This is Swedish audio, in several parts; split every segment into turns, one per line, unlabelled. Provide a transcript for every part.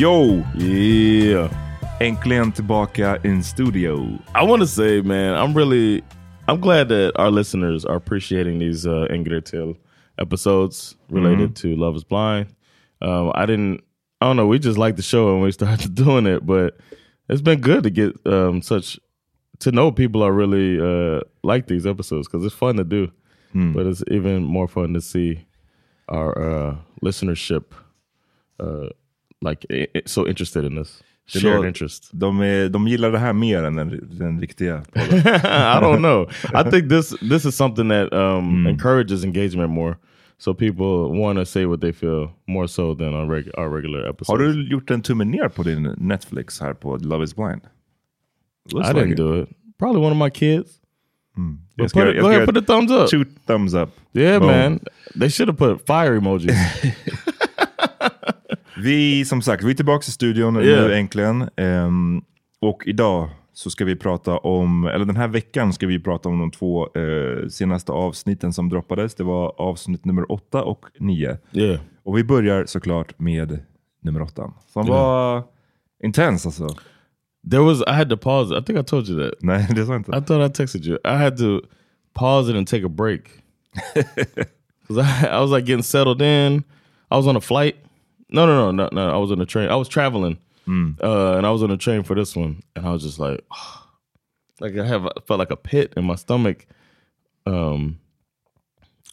Yo!
Yeah.
Äntligen tillbaka in studio.
I want to say, man, I'm really, I'm glad that our listeners are appreciating these uh, Ingrid Till episodes related
Mm-hmm.
to Love Is Blind. Um, I didn't, I don't know, we just liked the show and we started doing it, but it's been good to get um, such to know people are really uh, like these episodes because it's fun to do,
Hmm.
but it's even more fun to see our uh, listenership uh, like i i- so interested in this. Shared
Sure.
interest.
De, är, de gillar det här mer än den, den riktiga podden.
I don't know. I think this this is something that um,
Hmm.
encourages engagement more. So people want to say what they feel more so than on reg our regular episodes.
Har du gjort en tumme ner på din Netflix här på Love is blind?
I didn't do it. Probably one of my kids. But
Jag ska,
put
göra-
it,
jag
go
ska
ahead,
göra
put a thumbs up.
two thumbs up.
Yeah,
Boom.
man. They should have put fire emojis.
Vi, som sagt, vi är tillbaka i studion nu
Yeah.
äntligen. Ehm, och idag så ska vi prata om, eller den här veckan ska vi prata om de två eh, senaste avsnitten som droppades. Det var avsnitt nummer åtta och nio.
yeah.
Och vi börjar såklart med nummer åtta. Som var intens alltså.
There was I had to pause. it. I think I told you that.
Nej, det sa jag inte.
I thought I texted you. I had to pause it and take a break. Cause I, I was like getting settled in. I was on a flight. No, no, no, no, no. I was on a train. I was traveling,
Mm.
uh, and I was on a train for this one. And I was just like, like I have I felt like a pit in my stomach. Um,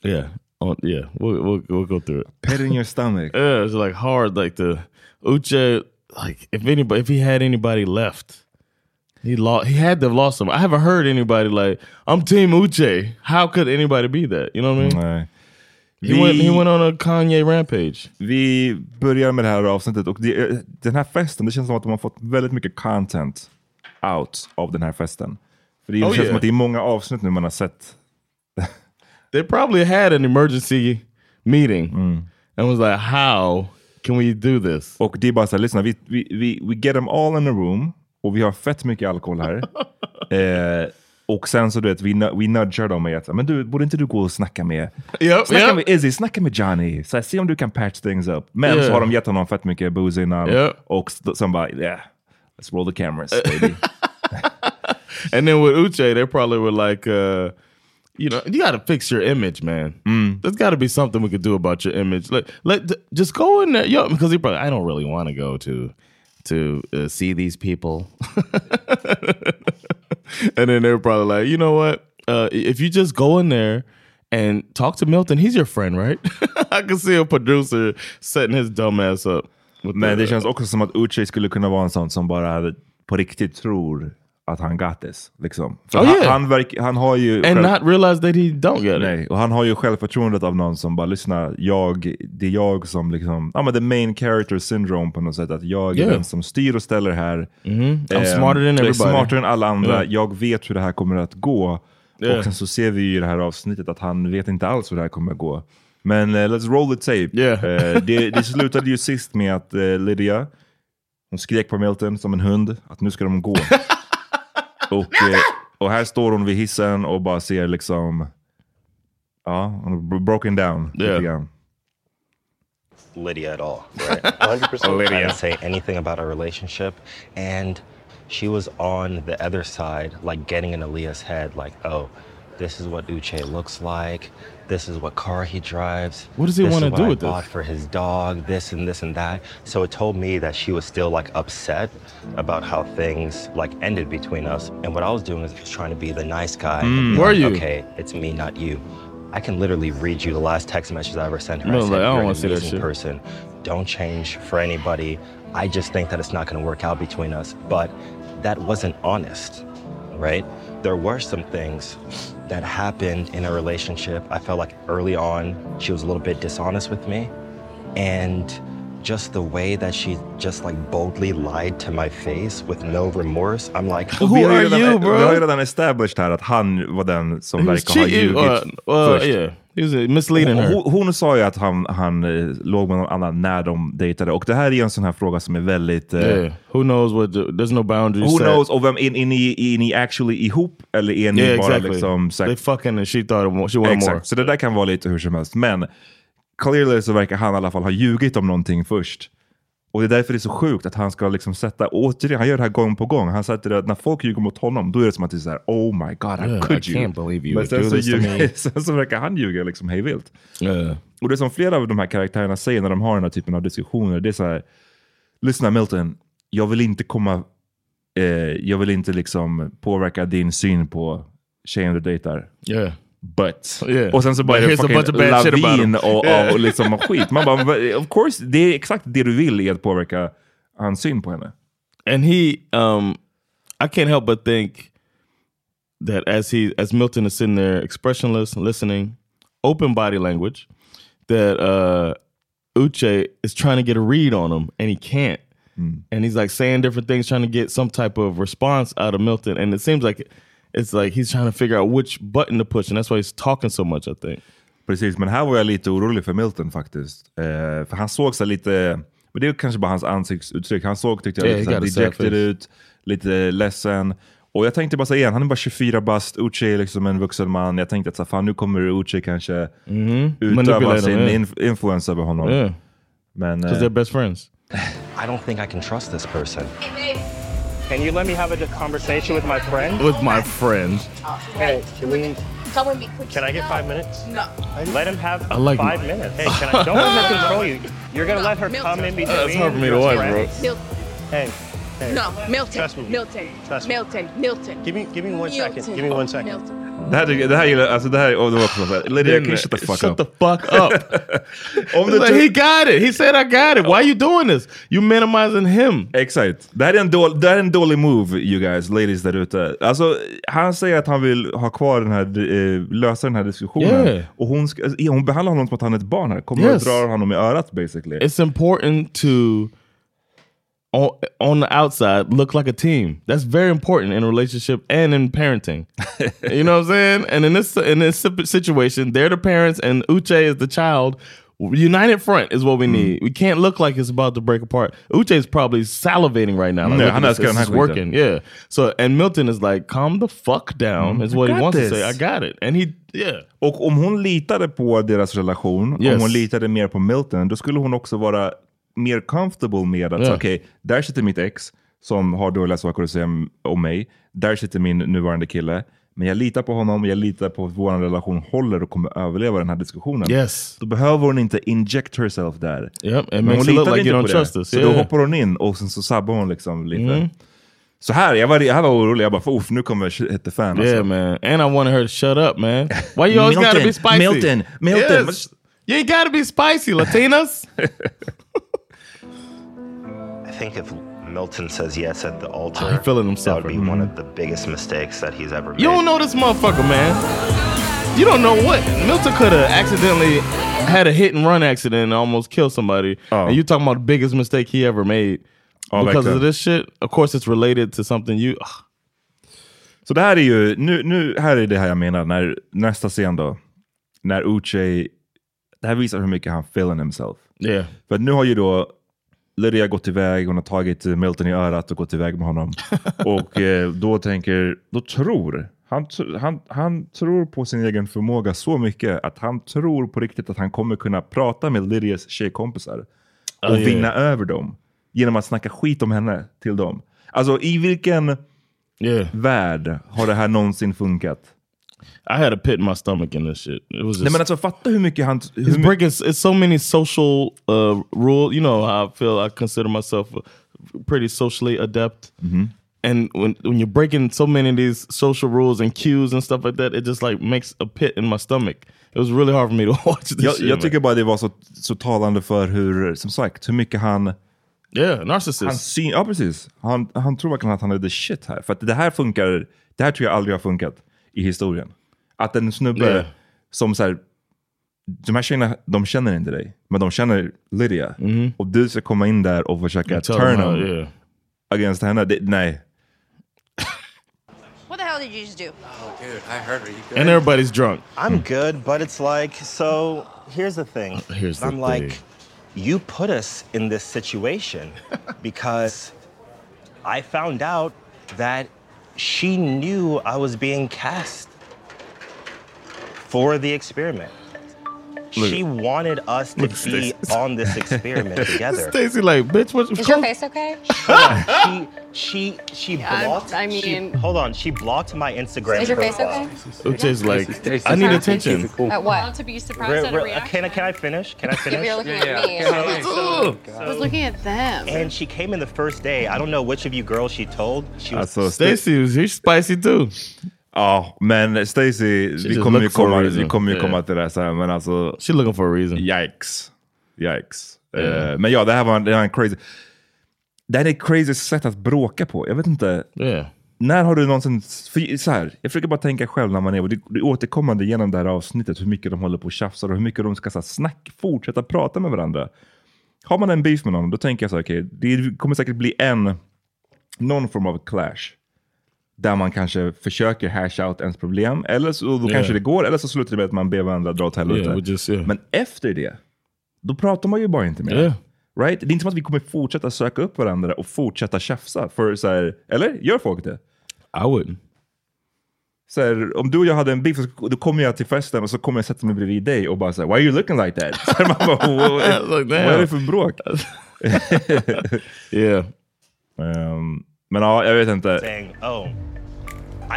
yeah, on yeah, we'll we'll, we'll go through it.
Pet in your stomach.
Yeah, it's like hard. Like the Uche, like if anybody, if he had anybody left, he lost. He had to have lost somebody. I haven't heard anybody like I'm Team Uche. How could anybody be that? You know what I mean?
Nej.
He went. He went on a Kanye rampage.
Vi börjar med det här avsnittet och det, den här festen, det känns som att de har fått väldigt mycket content out av den här festen. För det
Oh,
känns
yeah.
som att det är många avsnitt nu man har sett.
They probably had an emergency meeting
Mm.
and was like, "How can we do this?"
Och det är bara så här, lyssna, vi, vi, vi, we get them all in a room och vi har fett mycket alkohol här. eh, och sen så du vet, vi, nu- vi nudgar dem med att, men du, borde inte du gå och snacka med,
Yep,
snacka
yep.
med Izzy, snacka med Johnny, så här, se om du kan patch things up. Men så
Yeah.
har de gett honom fett mycket booze innan
Yeah.
och st- sen bara, yeah, let's roll the cameras baby.
And then with Uche, they probably were like, uh, you know, you got to fix your image, man.
Mm.
There's got to be something we could do about your image. Like, let just go in there, yo, because he probably I don't really want to go to to uh, see these people. and then they're probably like, you know what? Uh, if you just go in there and talk to Milton, he's your friend, right? I can see a producer setting his dumb ass up. With
Men det
the-
känns också som att Uche skulle kunna vara en sån som bara hade- på riktigt tror att han got this. Liksom. För
Oh,
han,
yeah.
han, verk, han har ju...
and
själv-
not realize that he don't get it.
Nej, och han har ju självförtroendet av någon som bara lyssna, jag, det är jag som liksom, ja men the main character syndrome på något sätt, att jag
Yeah.
är den som styr och ställer här.
Mm-hmm. I'm
Ehm,
smarter than
jag är
everybody.
smartare än alla andra,
Yeah.
jag vet hur det här kommer att gå.
Yeah.
Och sen så ser vi ju i det här avsnittet att han vet inte alls hur det här kommer att gå. Men eh, let's roll the tape.
Yeah.
Eh, det, det slutade ju sist med att eh, Lydia, hon skrek på Milton som en hund, att nu ska de gå. och, eh, och här står hon vid hissen och bara ser liksom, ja, hon har bro- broken down
Yeah.
lite grann.
Lydia at all, right? 100% I didn't say anything about our relationship. And she was on the other side, like getting in Aaliyah's head, like, oh, this is what Uche looks like. This is what car he drives.
What does he
this is
wanna do
I
with this?
bought For his dog, this and this and that. So it told me that she was still like upset about how things like ended between us. And what I was doing is just trying to be the nice guy. and be
Were
like,
Mm. you?
Okay, it's me, not you. I can literally read you the last text message I ever sent her.
No,
I said,
like, I don't
"You're an
wanna see that
amazing
shit."
person. Don't change for anybody. I just think that it's not going to work out between us. But that wasn't honest, right? There were some things that happened in a relationship. I felt like early on, she was a little bit dishonest with me. And just the way that she just like boldly lied to my face with no remorse, I'm like,
Who
Vi har ju
are
redan-
you, bro?
Vi har ju redan established här att han var den som
He was
verkar ha
cheating.
ljugit
Uh, well,
först.
yeah, he was uh, misleading her.
Hon, hon sa ju att han, han eh, låg med någon annan när de dejtade. Och det här är ju en sån här fråga som är väldigt... eh,
Yeah. Who knows what? The, there's no boundaries.
Who
set.
knows? Och vem, är, är, ni, är ni actually e uh, ihop eller är ni
Yeah,
bara
exactly.
liksom... så här-
They fucking and she thought it wa- she wanted more.
Exakt, så det där kan vara lite hur som helst. Men clearly så verkar han i alla fall ha ljugit om någonting först. Och det är därför det är så sjukt att han ska liksom sätta, återigen, han gör det här gång på gång. Han sätter det att när folk ljuger mot honom, då är det som att det är så här, oh my god, how
Yeah,
could
I
you?
can't believe you
Men
would
sen
do
så,
this to
ljuger,
me.
sen så verkar han ljuga liksom hej vilt.
Yeah.
Och det som flera av de här karaktärerna säger när de har den här typen av diskussioner, det är så här, lyssna Milton, jag vill inte komma, eh, jag vill inte liksom påverka din syn på tjejen du dejtar.
yeah.
But.
Yeah.
Och sen så bara
But
är det
here's a bunch of
fucking
bad shit about
lavin
him.
och,
Yeah.
och liksom skit. Man bara, "Va- of course, det är exakt det du vill är att påverka hans syn på henne.
And he, um, I can't help but think that as he, as Milton is sitting there, expressionless, listening, open body language, that uh, Uche is trying to get a read on him, and he can't. And he's like saying different things, trying to get some type of response out of Milton. And it seems like it's like he's trying to figure out which button to push, and that's why he's talking so much. I think.
Precis, men här var jag lite orolig för Milton faktiskt. Eh, för han såg sig lite, men det är kanske bara hans ansiktsuttryck. Han såg tyckte jag
Yeah,
lite
he
såhär
got a sad
dejected
face.
ut, lite ledsen. Och jag tänkte bara säga igen, han är bara 24 bast, Uche är liksom en vuxen man. Jag tänkte att så här, fan nu kommer Uche kanske utöva
Manipulate
sin
him, yeah.
inf- influens över honom.
Yeah,
Men, eh,
because they're best friends.
I don't think I can trust this person.
Can you let me have a conversation with my friend?
With my friends,
Hey, can we?
Someone be quick.
Can I get five minutes?
No.
Let him have
I like-
five minutes. Hey, can I? Don't let her control you. You're gonna let her
Milk.
come in between.
that's hard for me to
your
watch, bro.
friends?
Milton.
Hey, hey.
No. Milton.
Trust me.
Milton.
Trust me.
Milton. Milton.
Give me, give me one
Milton.
second. Give me one second.
Milton.
Det här, tycker- det här gillar alltså det här, och det var också så här, Lydia,
Then
can you shut the fuck
shut
up?
the fuck up.
Om du
Like,
tror-
he got it. He said I got it. Why you doing this? You minimizing him.
Exakt. Det här, är en dålig, det här är en dålig move you guys, ladies där ute. Alltså, han säger att han vill ha kvar den här, eh, lösa den här diskussionen.
Yeah.
Och hon, ska, alltså, hon behandlar honom som att han är ett barn här. Kommer
Yes.
och drar honom i örat basically.
It's important to on, on the outside look like a team. That's very important in a relationship and in parenting. you know what I'm saying? And in this in this si- situation, they're the parents and Uche is the child. United front is
Hmm.
what we need. We can't look like it's about to break apart. Uche is probably salivating right now. Like,
No,
look at
I'm
this.
not scared.
This
I'm
is
not going to.
working. Yeah. So and Milton is like, calm the fuck down is what he
Hmm. got
wants
this.
to say. I got it. And he yeah.
Och om hon litade på deras relation,
Yes.
om hon litade mer på Milton, då skulle hon också vara mer comfortable med att
Ja.
okej, där sitter mitt ex som har dåliga saker att säga om- om mig. Där sitter min nuvarande kille. Men jag litar på honom, jag litar på att vår relation håller och kommer överleva den här diskussionen.
Yes.
Då behöver hon inte inject herself där.
Yep. It
Men hon
makes it look
litade
like
inte
you
på
don't
det.
trust us.
Så då
Yeah. Mm.
hoppar hon in och sen så sabbar hon liksom lite. Så här, jag var, jag var orolig. Jag bara, uff, nu kommer shit hit the fan. alltså."
Yeah, man. And I wanted her to shut up, man. Why you always gotta be
Milton,
spicy?
Milton, Milton.
Yes. You ain't gotta be spicy, Latinas.
I think if Milton says yes at the altar,
I'm feeling him
that would be
suffering.
one of the biggest mistakes that he's ever made.
you don't know this motherfucker, man. You don't know what Milton could have accidentally had a hit and run accident and almost killed somebody.
Oh.
And you talking about the biggest mistake he ever made
Ja,
because
verkligen.
of this shit? Of course, it's related to something you. ugh.
Så det här är ju, nu, nu, här är det här jag menar, när, nästa scen då. När Uche, det här visar hur mycket han feeling himself.
Yeah,
För att nu har ju då Lydia gått iväg, hon har tagit eh, Milton i örat och gått iväg med honom. och eh, då tänker, då tror, han, tr- han, han tror på sin egen förmåga så mycket att han tror på riktigt att han kommer kunna prata med Lydias tjejkompisar och
ja, ja.
vinna över dem genom att snacka skit om henne till dem. Alltså i vilken
yeah.
värld har det här någonsin funkat?
I had a pit in my stomach in this shit. It was
Nej
just
men alltså fatta hur mycket han... Hur
It's
my-
breaking s- it's so many social uh, rule. You know how I feel. I consider myself a- pretty socially adept.
Mm-hmm.
And when when you're breaking so many of these social rules and cues and stuff like that, it just like makes a pit in my stomach. It was really hard for me to watch this.
jag,
shit,
jag
man.
tycker bara det var så, så talande för hur, som sagt, hur mycket han...
yeah,
han
narcissist.
syn, ja, precis. Han, han tror verkligen att han är the shit här. För att det här funkar, det här tror jag aldrig har funkat i historien. Att en snubbe
Nej.
som så här, de här tjejerna, de känner inte dig, men de känner Lydia.
Mm.
Och du ska komma in där och försöka
Tell them
turn
how-
on
yeah.
against henne. Det, nej.
What the hell did you just do?
And everybody's drunk.
I'm good, but it's like, so here's the thing.
Uh, Here's the
I'm like,
thing.
you put us in this situation because I found out that she knew I was being cast for the experiment. she wanted us to be on this experiment together.
Stacy, like, bitch, what you
Is your face okay?
She she she
I-
blocked.
I
she-
mean-
hold on, she blocked my Instagram.
Is your face
profile.
okay?
Uche's like, I need attention.
At what?
to be
Re-
surprised at a
re-
reaction.
uh, can I can I finish? Can I
If
finish?
you're looking at me.
Oh,
Oh,
I was looking at them.
And she came in the first day. I don't know which of you girls she told. She was
Alltså, Uh, Stacy,
Stacy, was- he's spicy too.
ja, men Stacy, vi
just
kommer ju
looked for a
komma, vi
reason.
kommer ju
Yeah.
komma till det här sen, men alltså
She looking for a reason.
Yikes. Yikes. Eh, men ja, det här var en, det här var en crazy... Det här är ett crazy sätt att bråka på. Jag vet inte.
Yeah.
När har du någonsin... För, så här, jag försöker bara tänka själv när man är... Och det, det är återkommande genom det här avsnittet hur mycket de håller på och tjafsar och hur mycket de ska så här, snack, fortsätta prata med varandra. Har man en beef med någon, då tänker jag så här, okej, det kommer säkert bli en... Någon form av clash. Där man kanske försöker hash out ens problem. Eller så och då kanske det går, eller så slutar det med att man ber varandra dra åt helvete.
Yeah, we just, yeah.
Men efter det, då pratar man ju bara inte mer.
Yeah.
Right? Det är inte som att vi kommer fortsätta söka upp varandra och fortsätta tjafsa. För så här, eller? Gör folk det?
I wouldn't.
Så här, om du och jag hade en beef, så- då kommer jag till festen och så kommer jag sätta mig bredvid dig och bara så här, why are you looking like that? Så här, man bara,
Like,
"Wha- what, vad är
damn.
det för bråk?
Yeah.
Ehm, men ja, jag vet inte.
saying, "Oh,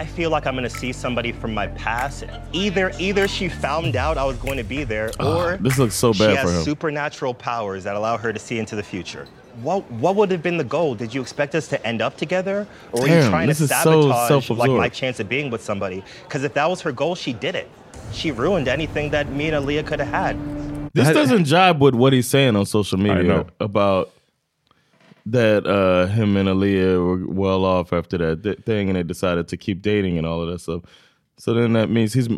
I feel like I'm going to see somebody from my past. Either either she found out I was going to be there, or
Ah, this looks so
she
bad
has
for him.
supernatural powers that allow her to see into the future." what what would have been the goal? Did you expect us to end up together, or were you
Damn,
trying to
this is so
sabotage like
self-absorbed.
my chance of being with somebody? Because if that was her goal, she did it. She ruined anything that me and Aaliyah could have had.
This doesn't jibe with what he's saying on social media
know.
about that uh, him and Aaliyah were well off after that th- thing, and they decided to keep dating and all of that stuff. So then that means he's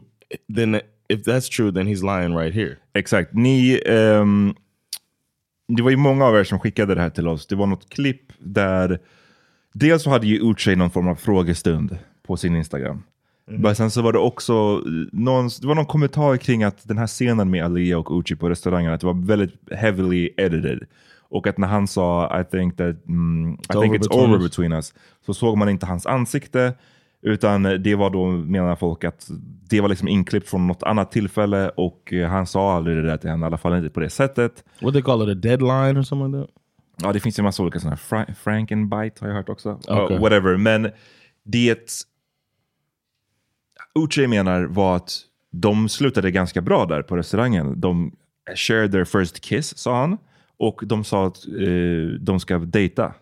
then if that's true, then he's lying right here.
Exakt. Ni, ehm, det var ju många av er som skickade det här till oss. Det var något klipp där, dels så hade ju Uche någon form av frågestund på sin Instagram.
Mhm.
Men sen så var det också eh, någon, det var någon kommentar kring att den här scenen med Alia och Uchi på restaurangen, att det var väldigt heavily edited. Och att när han sa I think that mm, I
It's
think
over
it's
between
over
us."
between us, så såg man inte hans ansikte. Utan det var då, menar folk, att det var liksom inklippt från något annat tillfälle och eh, han sa aldrig det där till henne, i alla fall inte på det sättet.
What they call it a deadline or something like that?
Ja, det finns ju en massa olika sådana här. Fra- Frankenbite har jag hört också.
Okej.
Ja, whatever, men det Uche menar var att de slutade ganska bra där på restaurangen. De shared their first kiss, sa han. Och de sa att eh, de ska dejta.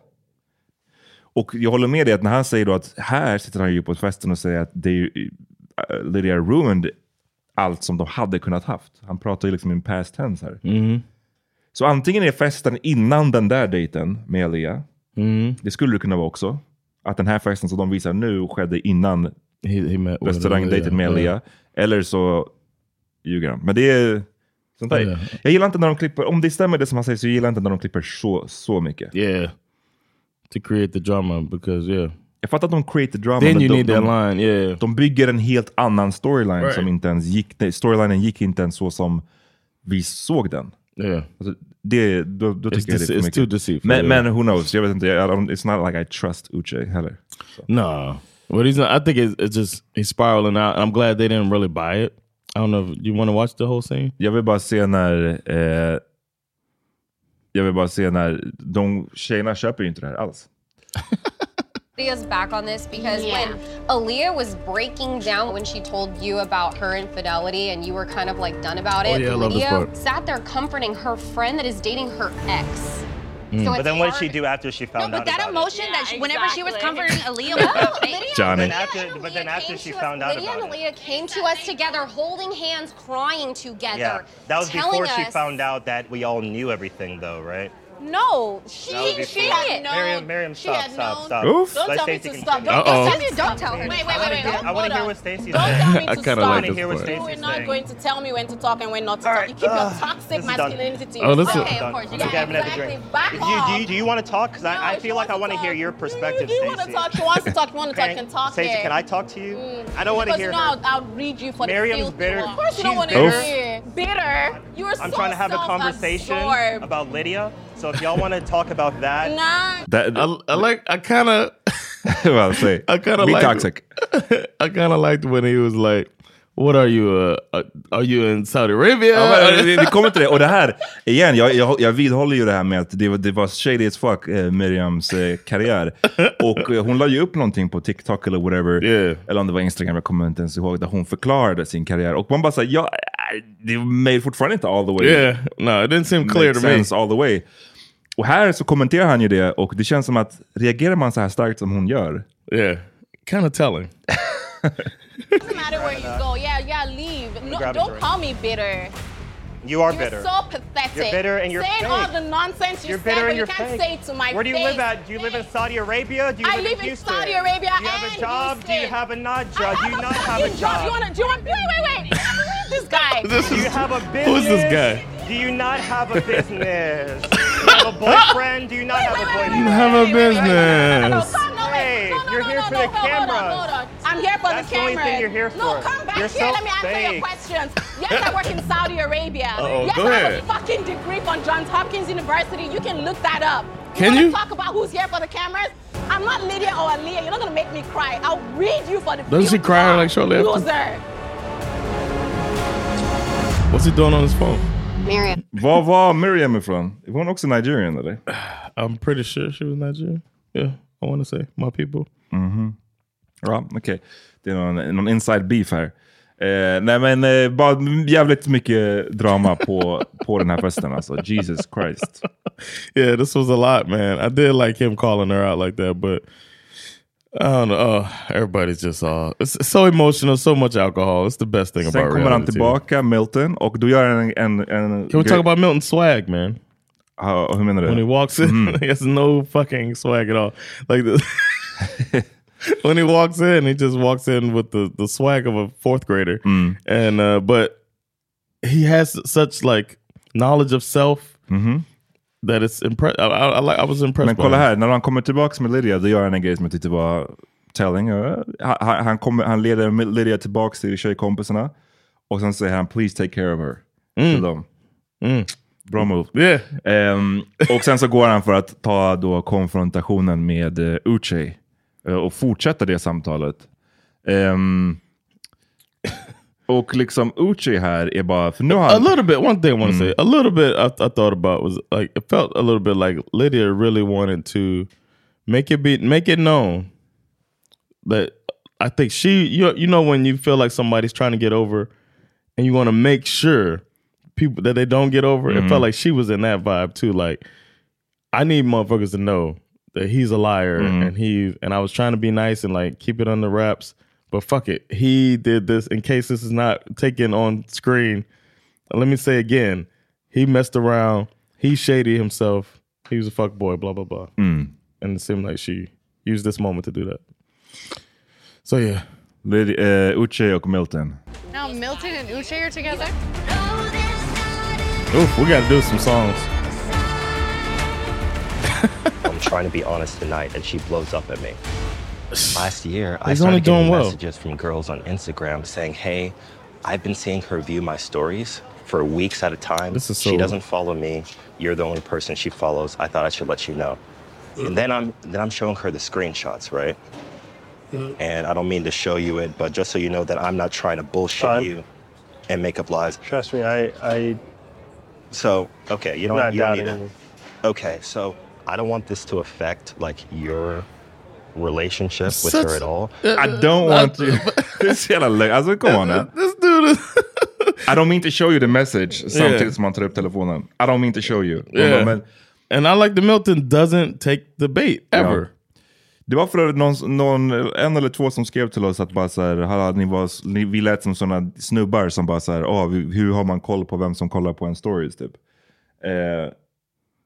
Och jag håller med dig att när han säger då att här sitter han ju på festen och säger att they, eh, Lydia ruined allt som de hade kunnat haft. Han pratar ju liksom in past tense här.
Mm.
Så antingen är festen innan den där dejten med Elia.
Mm.
Det skulle det kunna vara också. Att den här festen som de visar nu skedde innan
with
restaurangdejten med
Aaliyah.
Elia. Eller så ljuger han. Men det är sånt där.
Ja, ja.
Jag gillar inte när de klipper, om det stämmer det som han säger så gillar jag inte när de klipper så, så mycket.
Yeah. To create the drama because yeah.
Jag fattar att de create the drama.
Then
men
you
de,
need that
de,
line, yeah.
De bygger en helt annan storyline
Right.
som inte ens gick, nej, storylinen gick inte ens så som vi såg den.
Yeah.
Alltså, det, då, då
It's
tycker jag det är för
dece- it's
mycket.
too deceitful,
men,
yeah.
men who knows, jag vet inte, I don't, it's not like I trust Uche heller.
No. But he's not, I think it's, it's just he's spiraling out. And I'm glad they didn't really buy it. I don't know if you want to watch the whole scene.
Jag vill bara se när... Eh, jag vill bara se när... De tjejerna köper ju inte det här alls.
Lydia's back on this because when Aaliyah was breaking down when she told you about her infidelity and you were kind of like done about
Oh,
it,
yeah, I love this
Lydia
part.
sat there comforting her friend that is dating her ex. So
but
it's
then what did
hard-
she do after she found
But
out?
that
about
emotion that she, whenever she was comforting Aaliyah,
No,
was
Lydia-
Lydia,
But
Johnny.
then after, but then after she found out
Lydia
about
and
it.
Aaliyah came to us together, holding hands, crying together.
Yeah, that was
telling
before she
us-
found out that we all knew everything, though, right?
No, she
That was
she,
before.
had known.
Miriam, Miriam,
she
stop,
had
stop,
known.
stop.
Oof.
Don't
Let
tell me
Stacey
to
continue.
stop. Don't,
Uh-oh.
don't tell me. Don't tell her. Wait, wait, wait, wait.
I want to hear what Stacy's saying.
I kind of like this part.
You're not going to tell me when to talk and when not to talk. You keep your toxic
is done.
masculinity to
Oh, this
yourself.
is-
Okay,
Done.
of course.
It's okay,
Yeah,
I'm gonna have a
exactly.
drink.
Back
Do you, do
off.
you, do you want to talk? Because I, I feel like I want to hear your perspective,
You want to
Stacey.
talk, you want to talk, you want to talk, you can talk
Stacey,
here.
can I talk to you? I don't want to
Because
hear
you know
her.
I'll, I'll read you for
Miriam's
the filthy
bitter.
one. Of course you don't
She's
want to
bitter.
hear. Bitter? You're
I'm
so
trying to have a conversation
self-absorbed.
about Lydia. So if y'all want to talk about that,
Nah.
I, I like I kind
Mm.
of
well, say,
I kind of
be
like
toxic.
I kind of liked when he was like, "What are you? Uh, uh, are you in Saudi Arabia?"
Ja, men, vi, vi kommer till det. Och det här, igen, jag, jag, jag vidhåller ju det här med att det, var- det var shady as fuck, eh, Miriams eh, karriär. Och eh, hon la ju upp någonting på TikTok eller whatever, eller om det var Instagram, jag kommer inte ens ihåg, där hon förklarade sin karriär. Och man bara säger, ja, eh, det made fortfarande inte all the way.
Yeah. No, it didn't seem clear
Makes
to me.
sense all the way. Och här så kommenterar han ju det och det känns som att reagerar man så här starkt som hon gör.
Yeah, kind of telling.
Doesn't matter where you go. Yeah, yeah, leave. No,
grab a
don't
drink.
call me bitter.
you are
You're
bitter.
so pathetic.
You're bitter and you're
saying
fake.
all the nonsense you
You're
said,
bitter
but
and
you
you're
can't
fake.
say it to my
Where do you
face.
live at? Do you live in Saudi Arabia? Do you
I
live,
live in
Houston?
Saudi Arabia
Do you have a
and
job? Do you
Houston.
have a not
I
job? do you
have a
not have
fucking
a
job.
job?
You wanna? Do you want? Wait, wait, wait. I believe this guy.
do you have a business?
who is this guy?
Do you not have a business? do you have a boyfriend? Do you not have a boyfriend?
You have a business.
Hey, you're here for the cameras.
I'm here for
That's
the
the only
camera.
thing you're here
No,
for.
come back
You're
here.
so
Let me answer
fake.
your questions. Yes, I work in Saudi Arabia.
Uh-oh,
yes,
go
I
ahead.
have a fucking degree from Johns Hopkins University. You can look that up.
Can
wanna
you?
talk about who's here for the cameras? I'm not Lydia or Aaliyah. You're not gonna make me cry. I'll read you for the.
Doesn't she cry like shortly after?
Loser.
What's he doing on his phone?
Miriam.
Var var Miriam ifrån? Var hon också Nigerian eller?
I'm pretty sure she was Nigerian. Yeah, I want to say my people.
Mm-hmm. Mhm. Ja, okej. Det är någon, någon inside beef här. Eh, nej men eh, bara jävligt mycket drama på, på den här festen alltså. Jesus Christ.
yeah, this was a lot, man. I did like him calling her out like that, but I don't know. Oh, everybody's just all it's so emotional, so much alcohol. It's the best thing
Sen
about
kommer han
reality TV.
tillbaka, Milton, och du gör en... en, en
Can we talk about Milton swag, man?
Uh, hur menar du?
When he walks in,
Mhm.
he has no fucking swag at all. Like this. when he walks in, he just walks in with the, the swag of a fourth grader.
Mm.
And uh, but he has such like knowledge of self that it's impressive. I, I, I, like- I was impressed.
Men
by
kolla
him.
här, när han kommer tillbaka med Lydia, då gör han en grej som jag tyckte var telling. Eh, Han, han, kommer, han leder med Lydia tillbaka till tjejkompisarna och sen säger han “Please take care of her”
Mm.
till dem. Bra move. Ehm, och sen så går han för att ta då konfrontationen med uh, Uche eh, och fortsätta det samtalet. Ehm, och liksom Uche här är bara... För nu har
a
han,
little bit. One thing I want to
Mm.
say, a little bit. I, I thought about was like it felt a little bit like Lydia really wanted to make it be make it known that I think she you you know when you feel like somebody's trying to get over and you want to make sure people that they don't get over. It
Mhm.
felt like she was in that vibe too. Like I need motherfuckers to know that he's a liar
Mm-hmm.
Mhm.
and he and I was trying to be nice and like keep it under wraps. But fuck it, he did this. In case this is not taken on screen, let me say again, he messed around. He shady himself. He was a fuck boy. Blah blah blah.
Mm.
And it seemed like she used this moment to do that. So yeah,
Lydia, eh, Uche och Milton.
Now Milton and Uche are together.
Oof, we got to do some songs.
I'm trying to be honest tonight, and she blows up at me. Last year, I
He's
started
only
getting
doing well.
messages from girls on Instagram saying, "Hey, I've been seeing her view my stories for weeks at a time.
This is
she
so-
doesn't follow me. You're the only person she follows. I thought I should let you know." And then I'm then I'm showing her the screenshots, right?
Mm-hmm.
And I don't mean to show you it, but just so you know that I'm not trying to bullshit you and make up lies.
Trust me, I, I
So okay, you
Not
don't, you don't need
doubting
to. Okay, so I don't want this to affect like your relationship with her at all.
I don't want to... det är så jävla löjligt. Alltså come on now.
This dude is
I don't mean to show you the message samtidigt
Yeah.
som han tar upp telefonen. I don't mean to show you.
Yeah.
Men-
and I like the Milton doesn't take the bait ever.
Det var för övrigt någon, någon, en eller två som skrev till oss att bara så här, "Hallå, ni var, ni, vi lät som sådana snubbar som bara så här, "Ah, hur hur har man koll på vem som kollar på en stories typ? Eh,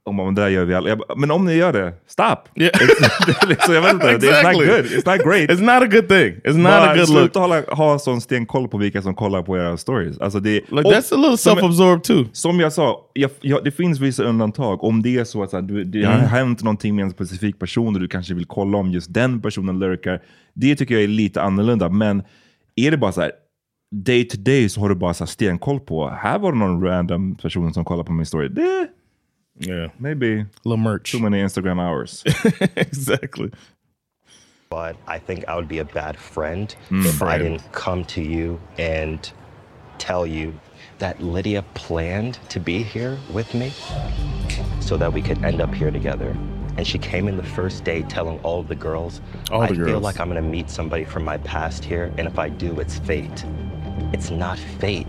och man, men det där gör vi alla. Jag bara, Men om ni gör det, stop! det är liksom, jag vet inte, it's
Exactly.
not good, it's not great.
It's not a good thing. It's not
bara,
a good look.
sluta hålla, ha sån stenkoll på vilka som kollar på era stories. Alltså det,
Like, that's a little
som-
self-absorbed too.
Som jag sa, jag, jag, det finns vissa undantag. Om det är så att så här, du, det har
Mm.
hänt någonting med en specifik person och du kanske vill kolla om just den personen lurkar. Det tycker jag är lite annorlunda. Men är det bara så här, day to day så har du bara så här stenkoll på, här var det någon random person som kollade på min story. Det,
yeah.
Maybe.
Little merch.
Too many Instagram hours.
exactly.
But I think I would be a bad friend
Hmm.
Mm.
if I
Friend.
didn't come to you and tell you that Lydia planned to be here with me so that we could end up here together. And she came in the first day telling all of the girls,
All the
I feel
girls.
like I'm gonna meet somebody from my past here, and if I do, it's fate. It's not fate.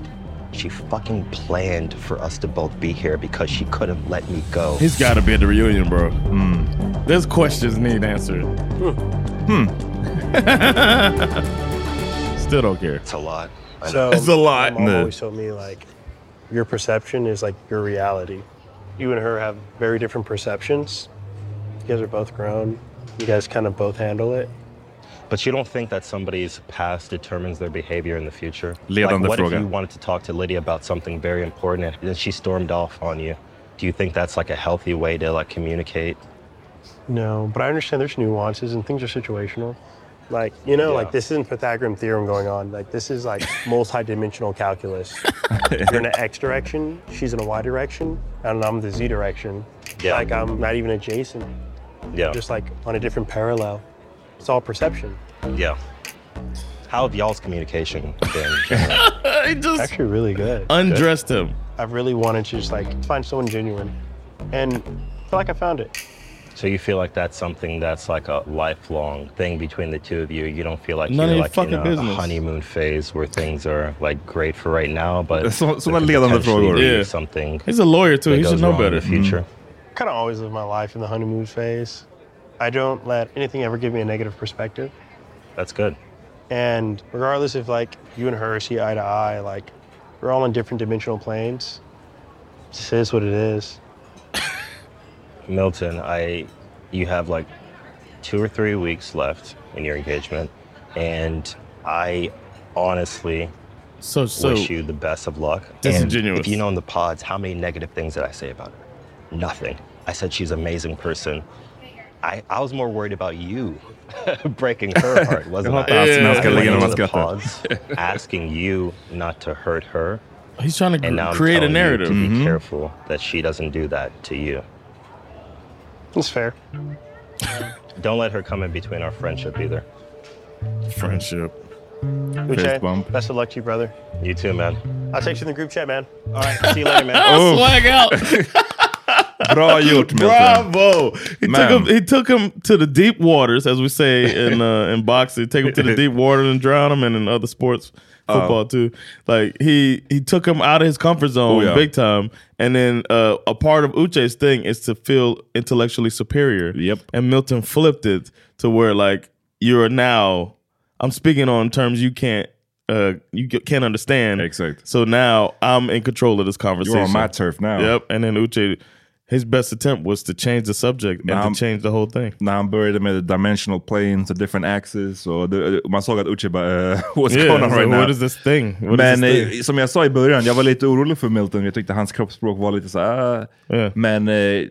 She fucking planned for us to both be here because she couldn't let me go.
He's got to be at the reunion, bro.
Mm.
There's questions need answered.
Hmm.
Hmm. Still don't care.
It's a lot.
so
it's a lot.
My mom always told me like your perception is like your reality. You and her have very different perceptions. You guys are both grown. You guys kind of both handle it.
But you don't think that somebody's past determines their behavior in the future?
Ledande
like, what
fråga.
if you wanted to talk to Lydia about something very important and then she stormed off on you? Do you think that's like a healthy way to like communicate?
No, but I understand there's nuances and things are situational. Like, you know, like this isn't Pythagorean theorem going on. Like, this is like multi-dimensional calculus. You're in an X direction, she's in a Y direction, and I'm the Z direction.
Yeah.
Like, I'm not even adjacent.
Yeah.
Just like on a different parallel. It's all perception.
Yeah. How have y'all's communication been?
Actually, really good.
Undressed him.
I really wanted to just like find someone genuine, and I feel like I found it.
So you feel like that's something that's like a lifelong thing between the two of you. You don't feel like
None of
you're
your
like in
fucking
a
business.
honeymoon phase where things are like great for right now, but
Så-
there
sådana
could
ledande
potentially
frågor.
be
Yeah.
Something.
He's a lawyer too.
that
He
goes
should know
wrong in
better.
the
Mm-hmm.
future.
kind of always live my life in the honeymoon phase. I don't let anything ever give me a negative perspective.
That's good.
And regardless if like you and her see eye to eye, like we're all on different dimensional planes. It just is what it is.
Milton, I you have like two or three weeks left in your engagement, and I honestly
so, so
wish you the best of luck. And
disingenuous.
If you know in the pods, how many negative things did I say about her? Nothing. I said she's an amazing person. I, I was more worried about you breaking her heart, wasn't
Jag
I?
hatar hans Yeah. mänskliga
I went
ligger när
into
man
the
skrattar.
pods asking you not to hurt her.
He's trying to
And
gr-
now I'm
create a
telling you
narrative.
to
Mm-hmm.
Be careful that she doesn't do that to you.
It's fair.
Don't let her come in between our friendship either.
Friendship.
Uche, best of luck to you, brother.
You too, man.
I'll text you in the group chat, man. All right, see you later, man.
Oh. Swag out.
Oh,
Bra gjort, Milton.
Bravo. He
Man.
took, him, he took him to the deep waters, as we say in uh, in boxing. Take him to the deep waters and drown him, and in other sports,
Oh.
football too. Like he he took him out of his comfort zone,
Oh, yeah.
big time. And then uh, a part of Uche's thing is to feel intellectually superior. Yep. And Milton flipped it to where like you're now. I'm speaking on terms you can't. Uh, you ca- can't understand. Exactly. So now I'm in control of this conversation.
my turf now.
Yep. And then Uche, his best attempt was to change the subject and
I'm-
to change the whole thing.
När han började med dimensional planes och different axes. Och det, man såg att Uche bara, eh, what's
Yeah,
going on
so
right now?
what is this thing? What is
men
this
eh,
thing?
som jag sa i början, jag var lite orolig för Milton. Jag tyckte hans kroppsspråk var lite så här. ah. Men eh,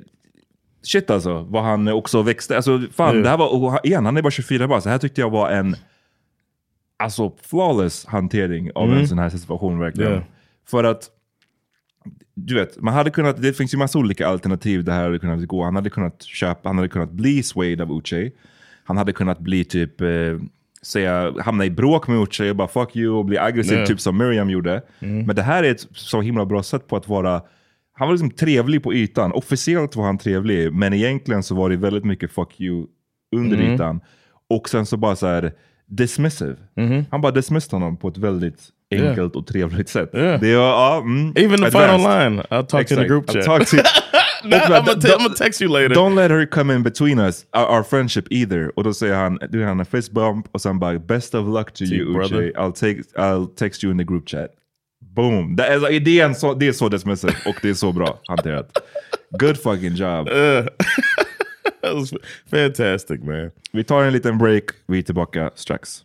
shit alltså, vad han också växte. Alltså fan,
Yeah.
det här var, och han- igen, han är bara 24 bara. Så här tyckte jag var en, alltså flawless hantering av
Mm.
en sån här situation verkligen.
Yeah.
För att du vet, man hade kunnat, det finns ju massa olika alternativ det här hade kunnat gå. Han hade kunnat köpa, han hade kunnat bli swayed av Uche. Han hade kunnat bli typ, eh, säga, hamna i bråk med Uche och bara fuck you och bli aggressiv,
Ja.
typ som Miriam gjorde.
Mm.
Men det här är ett så himla bra sätt på att vara, han var liksom trevlig på ytan. Officiellt var han trevlig, men egentligen så var det väldigt mycket fuck you under
Mm.
ytan. Och sen så bara så här dismissive.
Mm-hmm.
Han bara dismissed honom på ett väldigt
Yeah.
enkelt och trevligt sätt.
Yeah.
Det var, ja, mm,
Even the
advanced.
final line, I'll talk to you in the group
I'll
chat.
talk to you.
No,
Och
I'm
bara,
gonna te-
don't-
I'm gonna text you later.
Don't let her come in between us, our, our friendship either. Och då säger han, då gör han en fist bump och sen bara, best of luck to
See,
you
Typ, brother."
Uche. I'll, take, I'll text you in the group chat. Boom. Det är, det är, en så, det är så dismissive och det är så bra hanterat. Good fucking job.
That was fantastic man.
Vi tar en liten break, vi är tillbaka strax.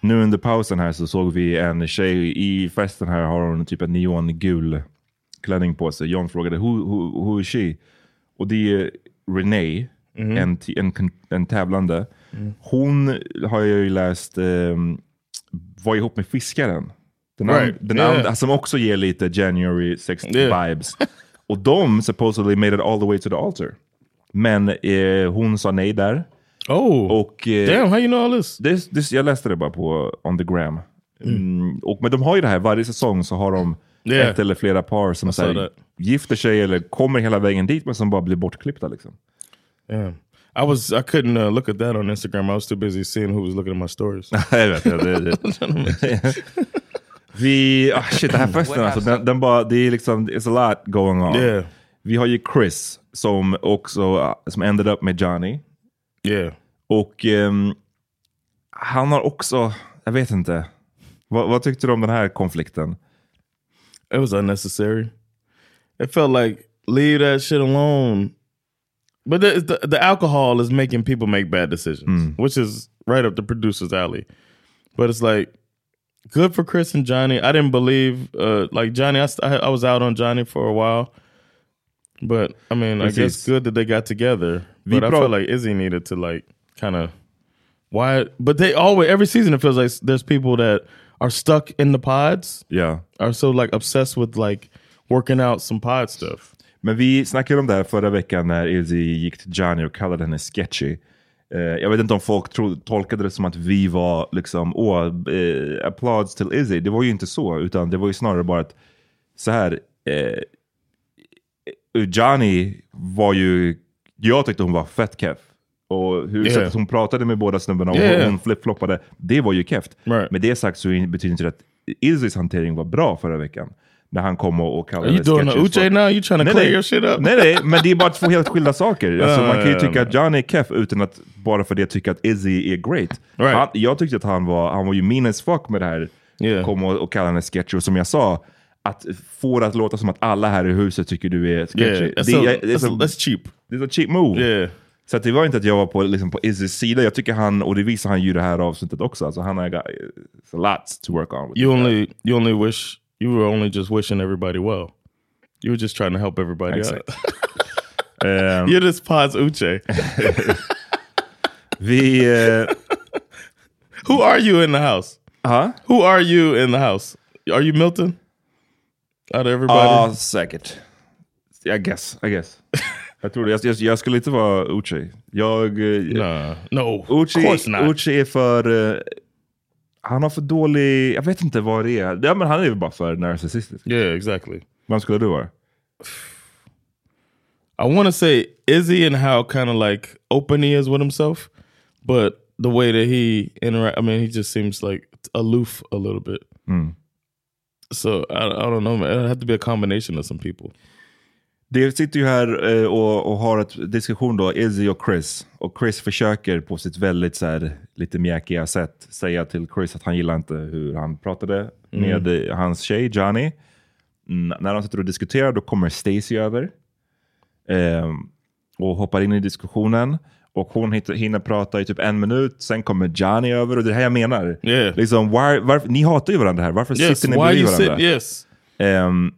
Nu under pausen här så såg vi en tjej i festen här har hon typ en neongul klänning på sig. John frågade who, who, who is she? Och det är Renee en, ti- en, kon- en tävlande. Hon har jag ju läst ehm, var ihop med fiskaren. Den, and,
Right.
den
Yeah.
andra, som också ger lite January 6th
Yeah.
vibes. Och de supposedly made it all the way to the altar. Men eh, hon sa nej där.
Oh,
och, eh,
damn, how you know all this?
this, this? Jag läste det bara på on the gram. Mm. Och, men de har ju det här, varje säsong så har de
Yeah.
ett eller flera par som
I
så
saw
här,
that.
gifter sig eller kommer hela vägen dit men som bara blir bortklippta. Liksom.
Damn. I was I couldn't uh, look at that on Instagram. I was too busy seeing who was looking at my stories.
Vi, ah, shit, den här festen alltså, den, den bara, det är liksom, it's a lot going on.
Yeah.
Vi har ju Chris som också, ah, som ended up med Johnny. Och ehm, han har också, jag vet inte. Vad, vad tyckte du om den här konflikten?
It was unnecessary. It felt like leave that shit alone. But the, the, the alcohol is making people make bad decisions, which is right up the producer's alley. But it's like good for Chris and Johnny. I didn't believe uh, like Johnny. I, st- I I was out on Johnny for a while, but I mean, I
This
guess
is-
good that they got together.
We
But I
pro-
feel like Izzy needed to like kind of why. But they always every season it feels like there's people that are stuck in the pods.
Yeah.
Are so like obsessed with like working out some pod stuff.
Men vi snackade om det här förra veckan när Izzy gick till Johnny och kallade henne sketchy. Eh, jag vet inte om folk tro, tolkade det som att vi var liksom, åh, eh, applåds till Izzy. Det var ju inte så, utan det var ju snarare bara att så här, eh, Johnny var ju, jag tyckte hon var fett keff. Och hur
Yeah.
sättet hon pratade med båda snubbarna och
Yeah.
hon flip-floppade, det var ju keft. Med det sagt så betyder inte det att Izzys hantering var bra förra veckan. När han kom och och kallade
Are you doing a
sketches för-
Uche now? You trying to
Nej,
clear
nej.
your shit up?
Nej, nej, men det är bara två helt skilda saker. Alltså,
Ja,
man kan ju
ja,
tycka
ja.
att Johnny är keff utan att bara för det tycka att Izzy är great. Han, jag tyckte att han var, han var ju mean as fuck med det här. Kom och, och kalla henne sketchy. Och som jag sa, att få det att låta som att alla här i huset tycker du är sketchy.
Yeah, that's
det,
a-
är- det är
that's
så-
a- that's cheap.
Det är a cheap move. Så att det var inte att jag var på, liksom, på Izzys sida. Jag tycker han, och det visar han ju i det här avsnittet också, alltså han har got it's a lot to work on. With.
You only you only wish you were only just wishing everybody well. You were just trying to help everybody Um,
Exakt.
out. You're just Paz Uche.
the
uh, Who are you in the house?
Huh?
Who are you in the house? Are you Milton? Out of everybody?
Ja, Ah, säkert.
Uh,
I guess, I guess. jag tror det. Jag, jag, jag skulle inte vara Uche. Jag...
Nah. No, of course
Uche,
not.
Uche är för... eh, han har för dålig... Jag vet inte vad det är. Ja, men han är väl bara för narcissistisk.
Yeah, exactly.
Vem skulle du vara?
I want to say Izzy and how kind of like open he is with himself, but the way that he interact, I mean, he just seems like aloof a little bit.
Mm.
So I, I don't know, man. It'd have to be a combination of some people.
Det sitter ju här eh, och, och har ett diskussion då, Izzy och Chris. Och Chris försöker på sitt väldigt så här, lite mjäkiga sätt säga till Chris att han gillar inte hur han pratade
Mm.
med eh, hans tjej Johnny. Mm, när de sitter och diskuterar då kommer Stacy över. Ehm, och hoppar in i diskussionen. Och hon hitt- hinner prata i typ en minut, sen kommer Johnny över. Och det är det här jag menar. Liksom, var, varför, ni hatar ju varandra här, varför
Yes,
sitter ni
why
bredvid
you sit-
varandra?
yes.
Ehm,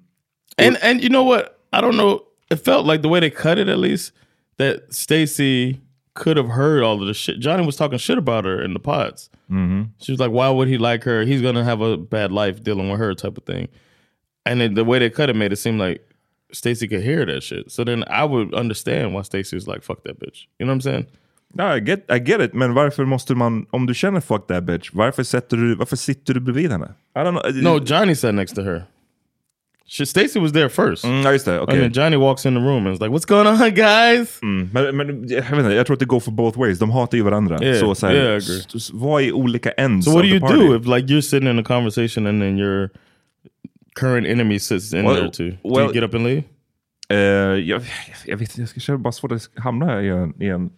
And and you know what? I don't know. It felt like the way they cut it, at least, that Stacy could have heard all of the shit. Johnny was talking shit about her in the pods.
mhm.
She was like, "Why would he like her? He's gonna have a bad life dealing with her," type of thing. And then the way they cut it made it seem like Stacy could hear that shit. So then I would understand why Stacy was like, "Fuck that bitch." You know what I'm saying?
Ja, I, get, I get it, men varför måste man, om du känner fuck that bitch, varför, sätter du, varför sitter du bredvid henne? I don't know.
No, Johnny sat next to her. She, Stacy was there first.
Mm, I used to.
And
Okay.
then Johnny walks in the room and is like, "What's going on, guys?"
Mm. Men, men jag, vet inte, jag tror att det går for both ways. De hatar ju varandra.
Yeah,
Så, så här,
yeah, I agree.
s- s- vad är olika ends
So what do
of mm, the
you
party?
do if like you're sitting in a conversation and then your current enemy sits in
Well-
there too? Do
well-
you get up and leave?
Eh, jag, jag vet inte, jag ska känna bara svårt att hamna i en, i en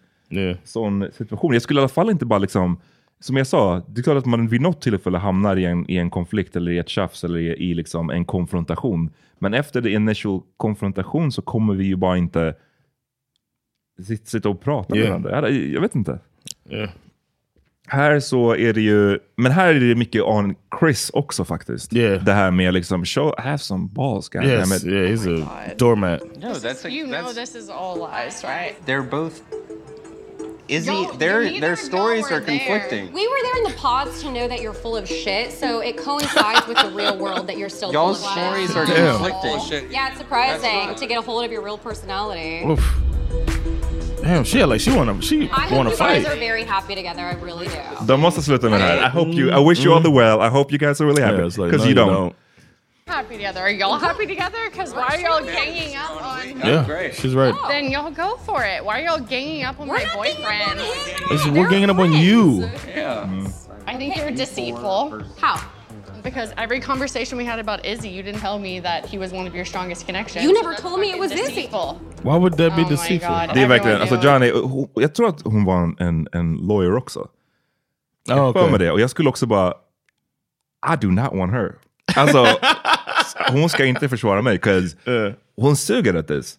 sån situation. Jag skulle i alla fall inte bara liksom, som jag sa, det är klart att man vid något tillfälle hamnar i en, i en konflikt eller i ett tjafs eller i, i liksom en konfrontation. Men efter the initial konfrontation så kommer vi ju bara inte sit- sitta och prata
Yeah.
med varandra. Jag, jag vet inte.
Yeah.
Här så är det ju, men här är det mycket on Chris också faktiskt. Det här med liksom, show, have some balls. God
Yes,
damn it.
Oh
yeah, he's a doormat.
No, that's a,
You know this is all lies, right?
they're both
Izzy,
Y'all- you
their
either
their stories
y'all
are
were there.
conflicting.
We were there in the pods to know that you're full of shit, so it coincides with the real world that you're still
Y'all's
full of
stories are
shit.
conflicting.
Yeah, it's surprising to get a hold of your real personality.
Oof. Damn, she had like she wanna she
I hope
wanna
you
fight.
guys are very happy together. I really do.
De måste sluta med det här. I hope you, I wish you all the well. I hope you guys are really happy. Because
Mm. like, no,
you
you
don't.
Happy together. Are y'all happy together? Because why are y'all ganging up on Oh.
Yeah, she's right.
Then y'all go for it. Why are y'all ganging up on my boyfriend?
It's- we're ganging up on you.
Yeah.
Mm-hmm.
I think you're deceitful. How? Because every conversation we had about Izzy, you didn't tell me that he was one of your strongest connections.
You never
That's
told me it
fucking
was Izzy.
deceitful.
Why would that be
Oh my
deceitful?
God,
Det är verkligen, alltså Johnny, hon, jag tror att hon var en- en, en lawyer också. Jag har för
Ah, okej.
mig det. Och jag skulle också bara, I do not want her. Alltså, hon ska inte försvara mig, because
Eh.
hon suger at this.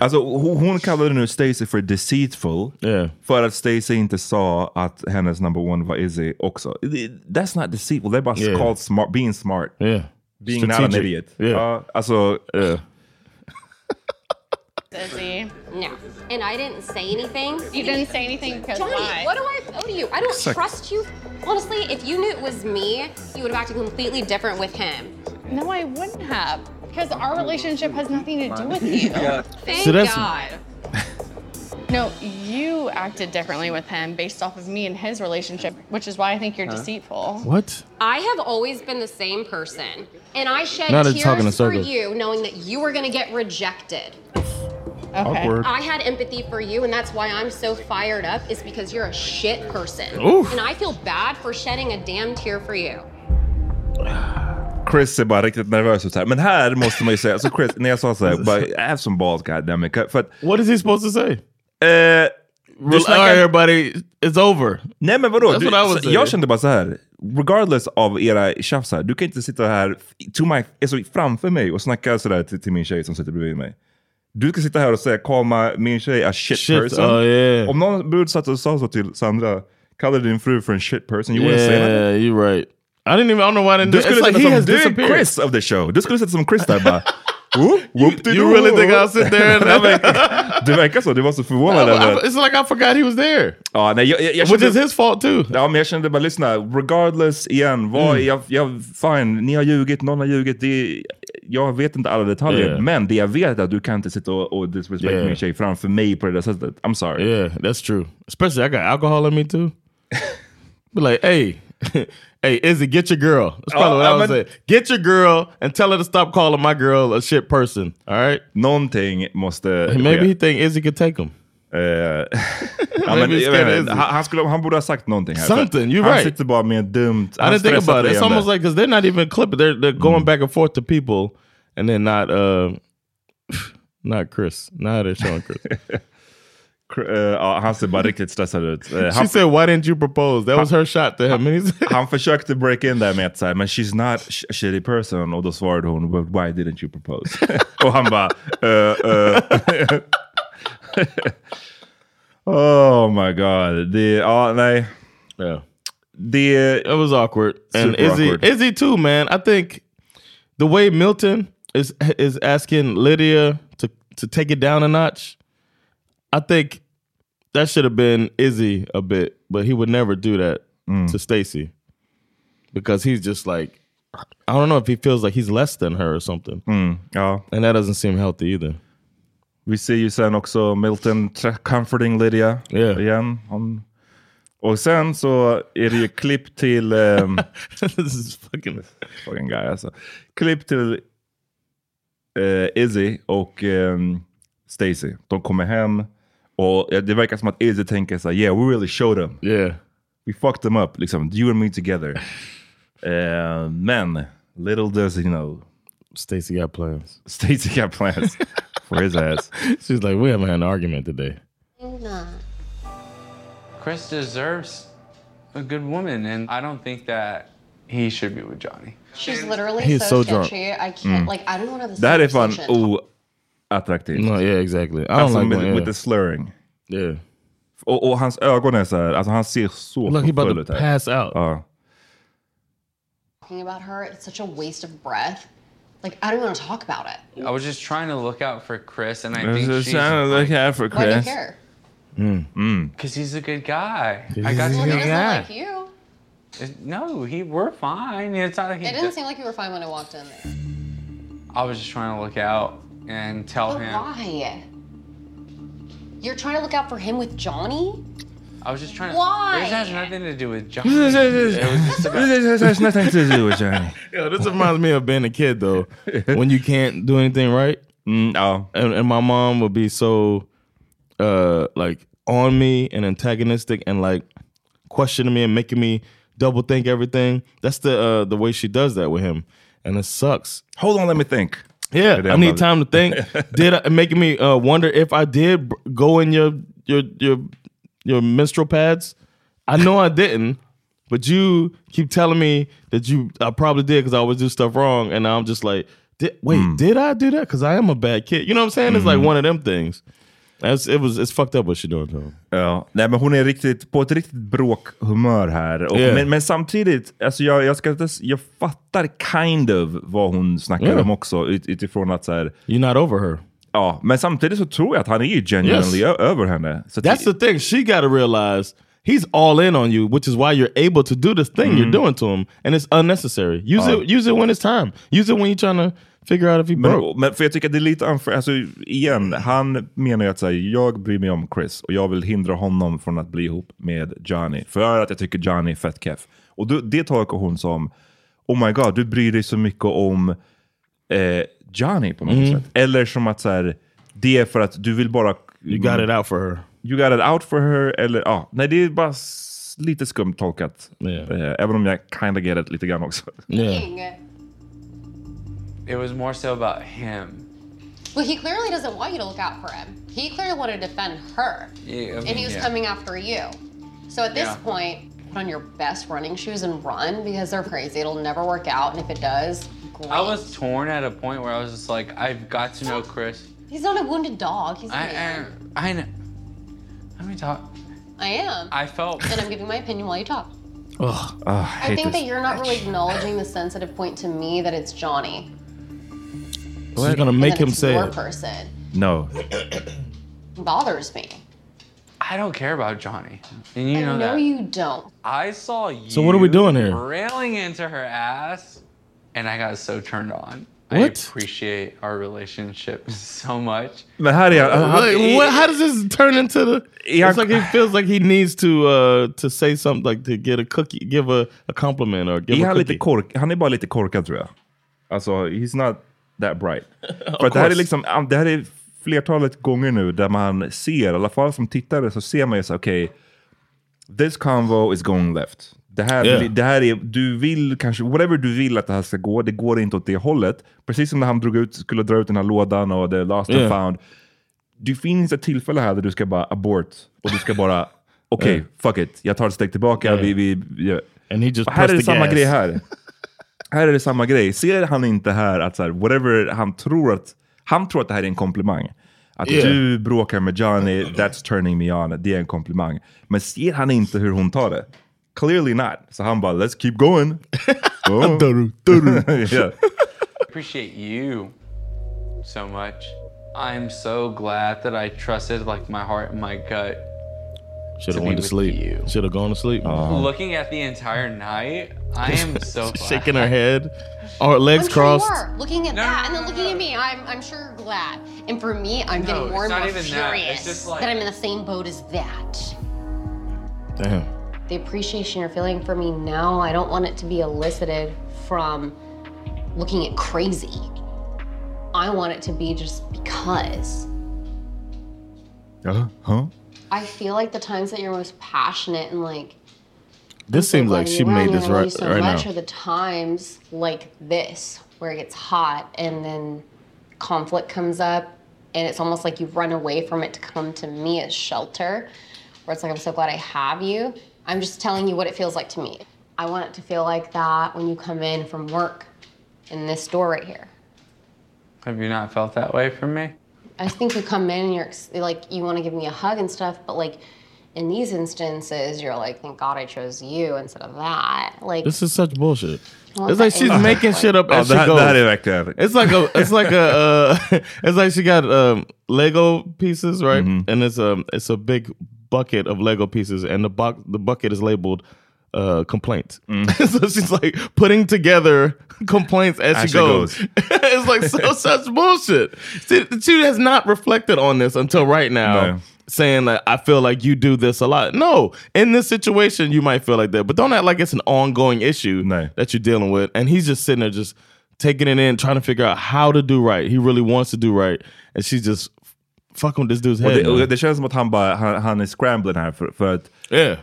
Alltså, hon, hon kallade nu Stacey för deceitful, för att Stacey inte sa att hennes number one var Izzy också. That's not deceitful, they bara
Yeah.
called smart, being smart.
Yeah.
Being not an
Strategic.
idiot.
Yeah.
Ja, alltså,
Izzy.
No. And I didn't say anything.
You didn't say anything because
Johnny,
why?
what do I owe to you? I don't
Suck.
trust you. Honestly, if you knew it was me, you would have acted completely different with him.
No, I wouldn't have. Because our relationship has nothing to do with you.
Yeah.
Thank
So that's-
God. No, you acted differently with him based off of me and his relationship, which is why I think you're
Huh?
Uh,
deceitful.
What?
I have always been the same person, and I shed
Now they're talking in
tears for
circles.
you, knowing that you were gonna get rejected. Okay.
Awkward.
I had empathy for you, and that's why I'm so fired up. Is because you're a shit person,
Oof.
and I feel bad for shedding a damn tear for you.
Chris ser bara riktigt nervös ut här. Men här måste man ju säga, alltså Chris, när jag sa så här, bara, have some balls goddammit. För att,
What is he supposed to say?
eh,
Well,
snackar-
all right, everybody, it's over.
Nej men vadå?
That's
Du,
what I would
så-
say.
jag kände bara så här, regardless av era tjafs här, du kan inte sitta här to my, alltså, framför mig och snacka sådär till, till min tjej som sitter bredvid mig. Du ska sitta här och säga, komma min tjej a shit,
Shit,
person.
oh, yeah.
Om någon brud satt och sa så till Sandra, kallar din fru för en shit person, you wouldn't say
Yeah,
that.
you're right. I didn't even, I don't know why I didn't
Du
do it.
skulle
It's like
sitta
he
som
has
du är
disappeared.
Chris of the show. Du skulle sitta som Chris där bara. "Oh, Whoop, whoop,
you really think I'll sit there and-
Ja, men, Du verkar så, du var så förvånad över att...
It's like I forgot he was there.
Ja, nej, jag, jag, jag
Which
kände,
is his fault too.
Ja, men jag kände bara, lyssna, regardless igen, vad,
Mm.
jag, jag, fine, ni har ljugit, någon har ljugit, det, är- jag vet inte alla detaljer,
Yeah.
men det jag vet är att du kan inte sitta och, och disrespect
Yeah.
min tjej framför mig på det där sättet. I'm sorry.
Yeah, that's true. Especially I got alcohol in me too. Be like, hey, hey, Izzy, get your girl. That's probably
Uh,
what I would
I'm
say.
a-
Get your girl and tell her to stop calling my girl a shit person. All right.
Någonting måste. Eh,
Maybe he think Izzy could take him.
Uh, Ja, men,
Maybe
jag
it's good,
vet, inte,
isn't it?
han, han, skulle, han borde ha sagt någonting här. för
Something, you're
han
right.
sitter bara med dumt...
I
han
didn't think
stressar
about it. It's
leende.
almost like because they're not even clipping. They're they're going back and forth to people, and then not uh, not Chris. Now they're showing Chris.
Cr- eh, ja, han ser bara riktigt stressad ut. Eh,
She said, "Why didn't you propose?" That was her shot to him. And he's
han försökte break in där med att säga, men she's not sh- a shitty person. Och då svarade hon, but why didn't you propose? och han bara, eh, eh. oh my god. Det, ja, nej.
Yeah.
The
it was awkward. And
Super
Izzy,
awkward.
Izzy too, man. I think the way Milton is is asking Lydia to to take it down a notch, I think that should have been Izzy a bit, but he would never do that
Mm.
to Stacy because he's just like I don't know if he feels like he's less than her or something.
Mm. ja.
And that doesn't seem healthy either.
Vi ser ju sen också Milton tra- comforting Lydia igen. Han, och sen så är det ju klipp till... ehm,
This is fucking...
fucking guy alltså. Klipp till eh, Izzy och ehm, Stacy. De kommer hem och eh, det verkar som att Izzy tänker så här, yeah we really showed them.
Yeah.
We fucked them up, liksom. You and me together. Eh, men, little does he know.
Stacy got plans.
Stacy got plans. For his ass.
She's like, we haven't had an argument today.
Chris deserves a good woman, and I don't think that he should be with Johnny.
She's literally
He is so so drunk.
sketchy. I
can't- Mm.
like. I don't know how
Det här är fan oattraktivt.
No, yeah, exactly. I don't
Alltså
like
med,
when- yeah.
with the slurring.
Yeah.
Och, och hans ögon är så här, alltså han ser så
Look, he about
full
to
ut här.
pass out.
Ja.
talking about her. It's such a waste of breath. Like I don't want to talk about it.
I was just trying to look out for Chris, and I
I was
think
just
she's
trying to look out for
Why do you
Chris.
care?
Mm.
because he's a good guy.
He's
I got
a
to
Well,
know
he
him.
doesn't like you.
It- No, he we're fine. It's not. He
It
d-
didn't seem like you were fine when I walked in there.
I was just trying to look out and tell
But
him.
why? You're trying to look out for him with Johnny?
I was just trying.
Why?
To, this has nothing to do with John.
This
It was just about-
has
nothing to do with Johnny.
Yo, this reminds me of being a kid though, when you can't do anything right.
No,
and, and my mom would be so uh like on me and antagonistic and like questioning me and making me double think everything. That's the uh the way she does that with him, and it sucks.
Hold on, let me think.
Yeah,
Goddamn
I need
love it.
time to think. did I, making me uh, wonder if I did b- go in your your your your menstrual pads? I know I didn't, but you keep telling me that you I probably did because I always do stuff wrong, and I'm just like, did, wait, did I do that? Because I am a bad kid. You know what I'm saying? It's like one of them things. That's, it was it's fucked up what she doing though.
Ja, nej men hon är riktigt, på ett riktigt bråkhumör här. Och,
Yeah.
men, men samtidigt, alltså jag, jag, ska, inte s- jag fattar kind of vad hon snackar
Yeah.
om också ut, utifrån att så här,
You're not over her.
Ja, men samtidigt så tror jag att han är ju genuinely
Yes.
ö- över henne. Så att-
That's the thing. She got to realize he's all in on you, which is why you're able to do this thing
Mm.
you're doing to him, and it's unnecessary. Use
Oh.
it. Use it when it's time. Use it when you're trying to figure out if he broke.
men, men för jag tycker det är lite unfair, alltså igen, han menar ju att så här, jag bryr mig om Chris och jag vill hindra honom från att bli ihop med Johnny. För att jag tycker Johnny är fett keff. Och då, det tolkar hon som, oh my god, du bryr dig så mycket om eh, Johnny på något
Mm.
sätt. Eller som att så här, det är för att du vill bara...
You got it out for her.
You got it out for her, eller ja. nej, det är bara s- lite skumt tolkat. Eh, även om jag kinda get it lite grann också.
It was more so about him.
Well, he clearly doesn't want you to look out for him. He clearly wanted to defend her.
Yeah, I mean,
and he was
yeah.
coming after you. So at this
Yeah.
point, put on your best running shoes and run because they're crazy. It'll never work out. And if it does, great.
I was torn at a point where I was just like, I've got to know Chris.
He's not a wounded dog. He's a
I-
man.
I know. Let me talk.
I am.
I felt.
and I'm giving my opinion while you talk.
Ah,
Ugh.
I think that you're not really acknowledging the sensitive point to me that it's Johnny.
She's gonna
And
make
that
him
it's
say
your
it.
person.
No.
It bothers me.
I don't care about Johnny. And you
I
know
know
that.
you don't.
I saw you.
So what are we doing here?
Railing into her ass, and I got so turned on. I
What?
appreciate our relationship so much.
Men här är jag.
Like, what, how does this turn into the? It's like he feels like he needs to uh, to say something, like to get a cookie, give a, a compliment, or give
Är
a
han,
cookie.
lite kork, han är bara lite korkad tror jag. Alltså, he's not that bright.
Of
För att det här är
course.
liksom, um, det här är flertalet gånger nu där man ser, i alla fall som tittare, så ser man ju så här, okej, this convo is going left. Det här,
Yeah.
det här är, du vill kanske, whatever du vill att det här ska gå, det går inte åt det hållet. Precis som när han drog ut, skulle dra ut den här lådan och the last
Yeah.
and found. Det finns ett tillfälle här där du ska bara abort och du ska bara, okej,
Yeah.
fuck it, jag tar ett steg tillbaka.
Yeah.
Vi, vi, vi,
And he just
och här är det
pressed the
samma
gas.
grej här. Här är det samma grej. Ser han inte här att så här, whatever han tror att, han tror att det här är en komplimang. Att
Yeah.
du bråkar med Johnny, that's turning me on, det är en komplimang. Men ser han inte hur hon tar det? Clearly not. Så han bara, let's keep going. Oh.
Dörru, dörru.
yeah.
appreciate you so much. I'm so glad that I trusted like my heart and my gut.
Should have
to be
went to
with
sleep. Should have gone to sleep.
Looking at the entire night, I am so glad.
shaking her head, our legs
I'm
crossed.
Sure you are looking at that and then looking at me. I'm, I'm sure you're glad. And for me, I'm
No,
getting
it's
more and
not
more
even that. It's
furious that.
just like-
I'm in the same boat as that.
Damn.
The appreciation you're feeling for me now, I don't want it to be elicited from looking at crazy. I want it to be just because.
Uh, huh?
I feel like the times that you're most passionate and like
This seems like
glad
she
you're around
made
and I
this
love
right
you so
right
much
now.
are the times like this where it gets hot and then conflict comes up and it's almost like you run away from it to come to me as shelter where it's like i'm so glad i have you i'm just telling you what it feels like to me i want it to feel like that when you come in from work in this door right here
Have you not felt that way from me?
I think you come in and you're ex- like you want to give me a hug and stuff, but like in these instances, you're like, thank God I chose you instead of that. Like,
This is such bullshit.
Well,
It's like
that
she's
is-
making shit up
Ja,
as
det,
she
här,
goes.
det här är verkligen...
It's like a, it's like a, uh, it's like she got um, Lego pieces, right? And it's um, it's a big bucket of Lego pieces, and the box, the bucket is labeled uh, complaint. so she's like putting together complaints as, she, goes. it's like so such bullshit. She, she has not reflected on this until right now. Saying like I feel like you do this a lot. No, in this situation you might feel like that, but don't act like it's an ongoing issue that you're dealing with. And he's just sitting there, just taking it in, trying to figure out how to do right. He really wants to do right, and she's just f- fucking with this dude's
Och
head.
det, och
man.
det känns som att han, bara, han, han är scrambling här för, för att... eh,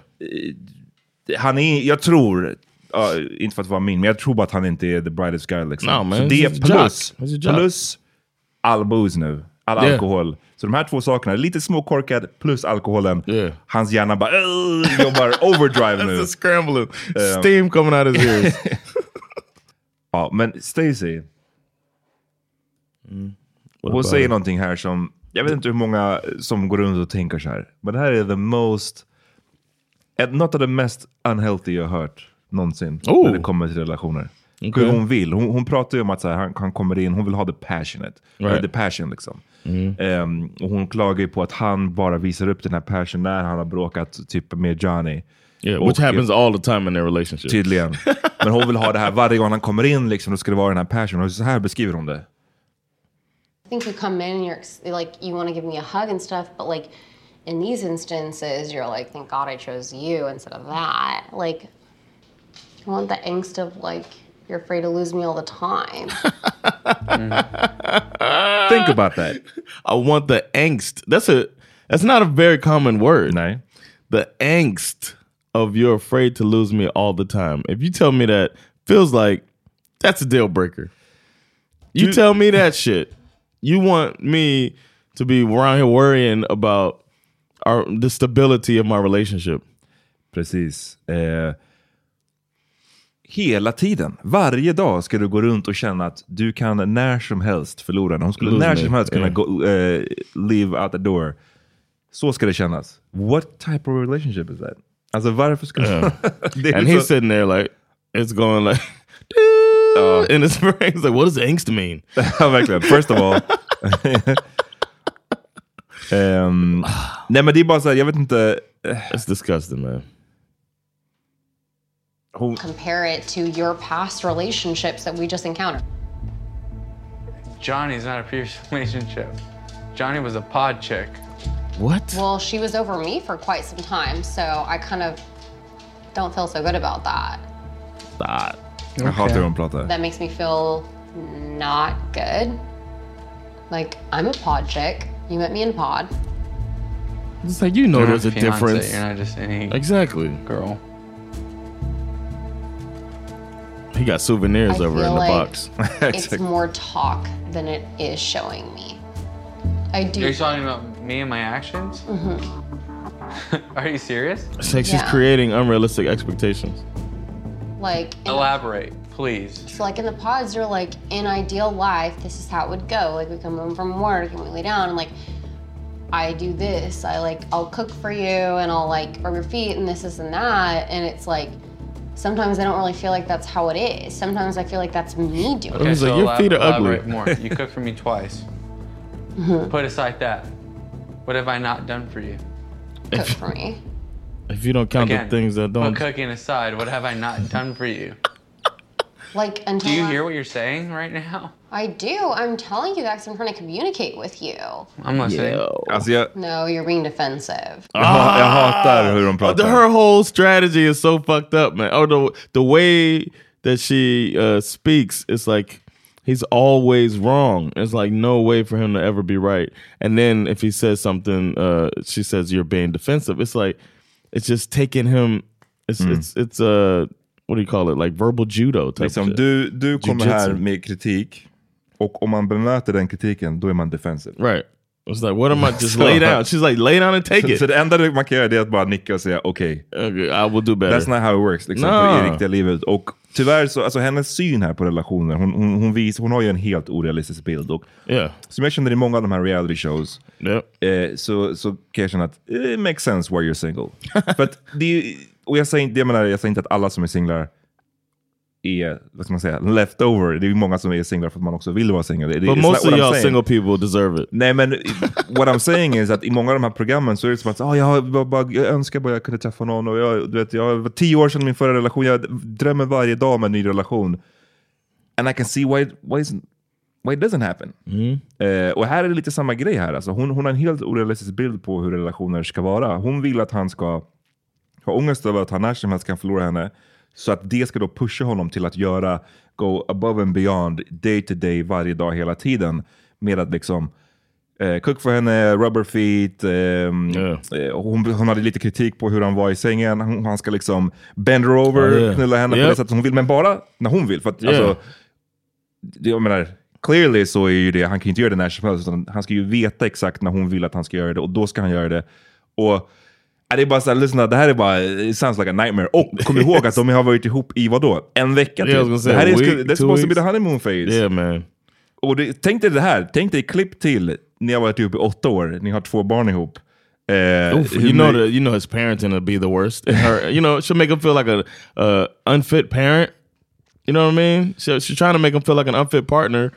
Han är, jag tror, ja, inte för att vara min, men jag tror bara att han inte är the brightest guy. Liksom.
No, man,
Så
he's
det
a
är
jock.
plus,
He's a jock.
plus all booze nu. All
Yeah.
alkohol. Så de här två sakerna, lite småkorkad plus alkoholen. Hans hjärna bara "Ugh", jobbar overdrive nu.
That's a scrambling
Eh.
Alltså, steam coming out his ears.
Ja, men Stacey. Hon
about
säger
it?
någonting här som, jag vet inte hur många som går runt och tänker så här, men det här är the most, ett- något av det mest unhealthy jag har hört någonsin när det kommer till relationer.
Oh! Okej.
Hur hon vill. Hon, hon pratar ju om att så här, han, han kommer in, hon vill ha the passionate.
Right.
Eller The passion liksom. Ehm, och hon klagar ju på att han bara visar upp den här passion när han har bråkat typ med Johnny.
Yeah, which happens all the time in their relationship.
Tydligen. Men hon vill ha det här varje gång han kommer in, liksom, då ska det vara den här passion. Och så här beskriver hon det.
I think you come in and you're ex- like, you want to give me a hug and stuff, but like in these instances, you're like, thank God I chose you instead of that. Like, I want the angst of like, you're afraid to lose me all the time.
Think about that.
I want the angst. That's a that's not a very common word. The angst of you're afraid to lose me all the time. If you tell me that, feels like that's a deal breaker. You tell me that shit. You want me to be around here worrying about our the stability of my relationship.
Precis. Eh, hela tiden, varje dag ska du gå runt och känna att du kan när som helst förlora. Hon skulle
Lose
när
me,
som helst kunna
yeah.
gå, eh, leave out the door. Så ska det kännas. What type of relationship is that? Alltså varför skulle... Det är
and he's
så-
sitting there like it's going like
Uh,
in his brain. He's like, what does angst mean?
Verkligen. First of all. Ehm, nej men det är bara så här, jag vet inte. eh.
It's disgusting man.
Hon,
Compare it to your past relationships that we just encountered.
Johnny's not a previous relationship. Johnny was a pod chick.
What?
Well, she was over me for quite some time, so I kind of don't feel so good about that.
Jag hatar hur hon pratar.
That makes me feel not good. Like, I'm a pod chick. You met me in a pod.
It's like you know
You're
there's
not
a
fiancé,
difference.
You're not just any
Exactly.
girl.
He got souvenirs
I
over in
feel
the
like
box.
It's more talk than it is showing me. I
Are
do.
you talking about me and my actions? Are you serious?
It's like she's
Mm-hmm. Yeah.
creating unrealistic expectations.
Like,
Elaborate, please.
So like in the pods, you're like, in ideal life, this is how it would go. Like we come home from work and we lay down and like I do this, I like I'll cook for you and I'll like rub your feet and this, this and that. And it's like sometimes I don't really feel like that's how it is. Sometimes I feel like that's me doing
It was like, your feet are ugly.
elaborate more. You cooked for me twice.
Mm-hmm.
Put aside that. What have I not done for you?
cook for me.
If you don't count the
Again,
things that don't,
Put cooking aside. What have I not done for you?
Like until
Do you
I,
hear what you're saying right now?
I do. I'm telling you that 'cause I'm trying to communicate with you.
I'm listening.
Alltså jag,
No, you're being defensive.
jag, ha- jag hatar hur hon
Uh, the-
pratar.
her whole strategy is so fucked up, man. Or the the way that she uh, speaks is like he's always wrong. It's like no way for him to ever be right. And then if he says something, uh, she says you're being defensive. It's like it's just taking him. It's
Mm.
it's it's uh, what do you call it? Like verbal judo type.
Liksom,
shit.
du, du kommer
Jujutsu.
här med kritik och om man bemöter den kritiken, då är man defensive.
Right. was like, what am I just lay down? She's like, lay down and take it.
Så det enda man kan göra det är att bara nicka och säga okej.
I will do better.
That's not how it works liksom,
No.
i riktiga livet. Och tyvärr, så, alltså, hennes syn här på relationer, hon, hon, hon, vis, hon har ju en helt orealistisk bild. Och, Som jag känner i många av de här reality shows, eh, så, så kan jag känna att eh, it makes sense why you're single. För att det är, ju- och jag säger, inte- jag, menar, jag säger inte att alla som är singlar är, vad ska man säga, leftover. Det är ju många som är singlar för att man också vill vara singel. Det-
But
it's not
most of
what I'm
y'all
saying.
single people deserve it.
Nej men what I'm saying is att i många av de här programmen så är det som att "Ah, jag, har bara, bara, jag önskar bara jag kunde träffa någon. Och jag, du vet, jag var tio år sedan min förra relation, jag drömmer varje dag om en ny relation. And I can see why, it- why, isn't, why it doesn't happen. Eh, och här är det lite samma grej här. Alltså, hon, hon har en helt orealistisk bild på hur relationer ska vara. Hon vill att han ska har ångest över att han när som helst kan förlora henne. Så att det ska då pusha honom till att göra, go above and beyond, day to day, varje dag, hela tiden. Med att liksom, eh, cook för henne, rubber feet. ehm, eh, och hon, hon hade lite kritik på hur han var i sängen. Hon, han ska liksom bend her over,
Ja, ja.
knulla henne
Ja.
på det sättet hon vill. Men bara när hon vill. För att,
Ja.
alltså, det- jag menar, clearly så är ju det, han kan ju inte göra det när som helst. Utan han ska ju veta exakt när hon vill att han ska göra det och då ska han göra det. Och ja, det är bara såhär, lyssna, det här är bara, it sounds like a nightmare. Och kom ihåg att de har varit ihop i vadå? En vecka
Yeah, I was gonna
till?
say
Det här
a
är,
week,
that's
two
supposed to
weeks.
be the honeymoon phase.
Yeah man.
Och det, tänk dig det här, tänk dig klipp till, ni har varit ihop i åtta år, ni har två barn ihop. Eh,
Oof,
hur
you know
my-
the, you know his parenting would be the worst. And her, you know, she'll make him feel like a uh, unfit parent. You know what I mean? She, she's trying to make him feel like an unfit partner,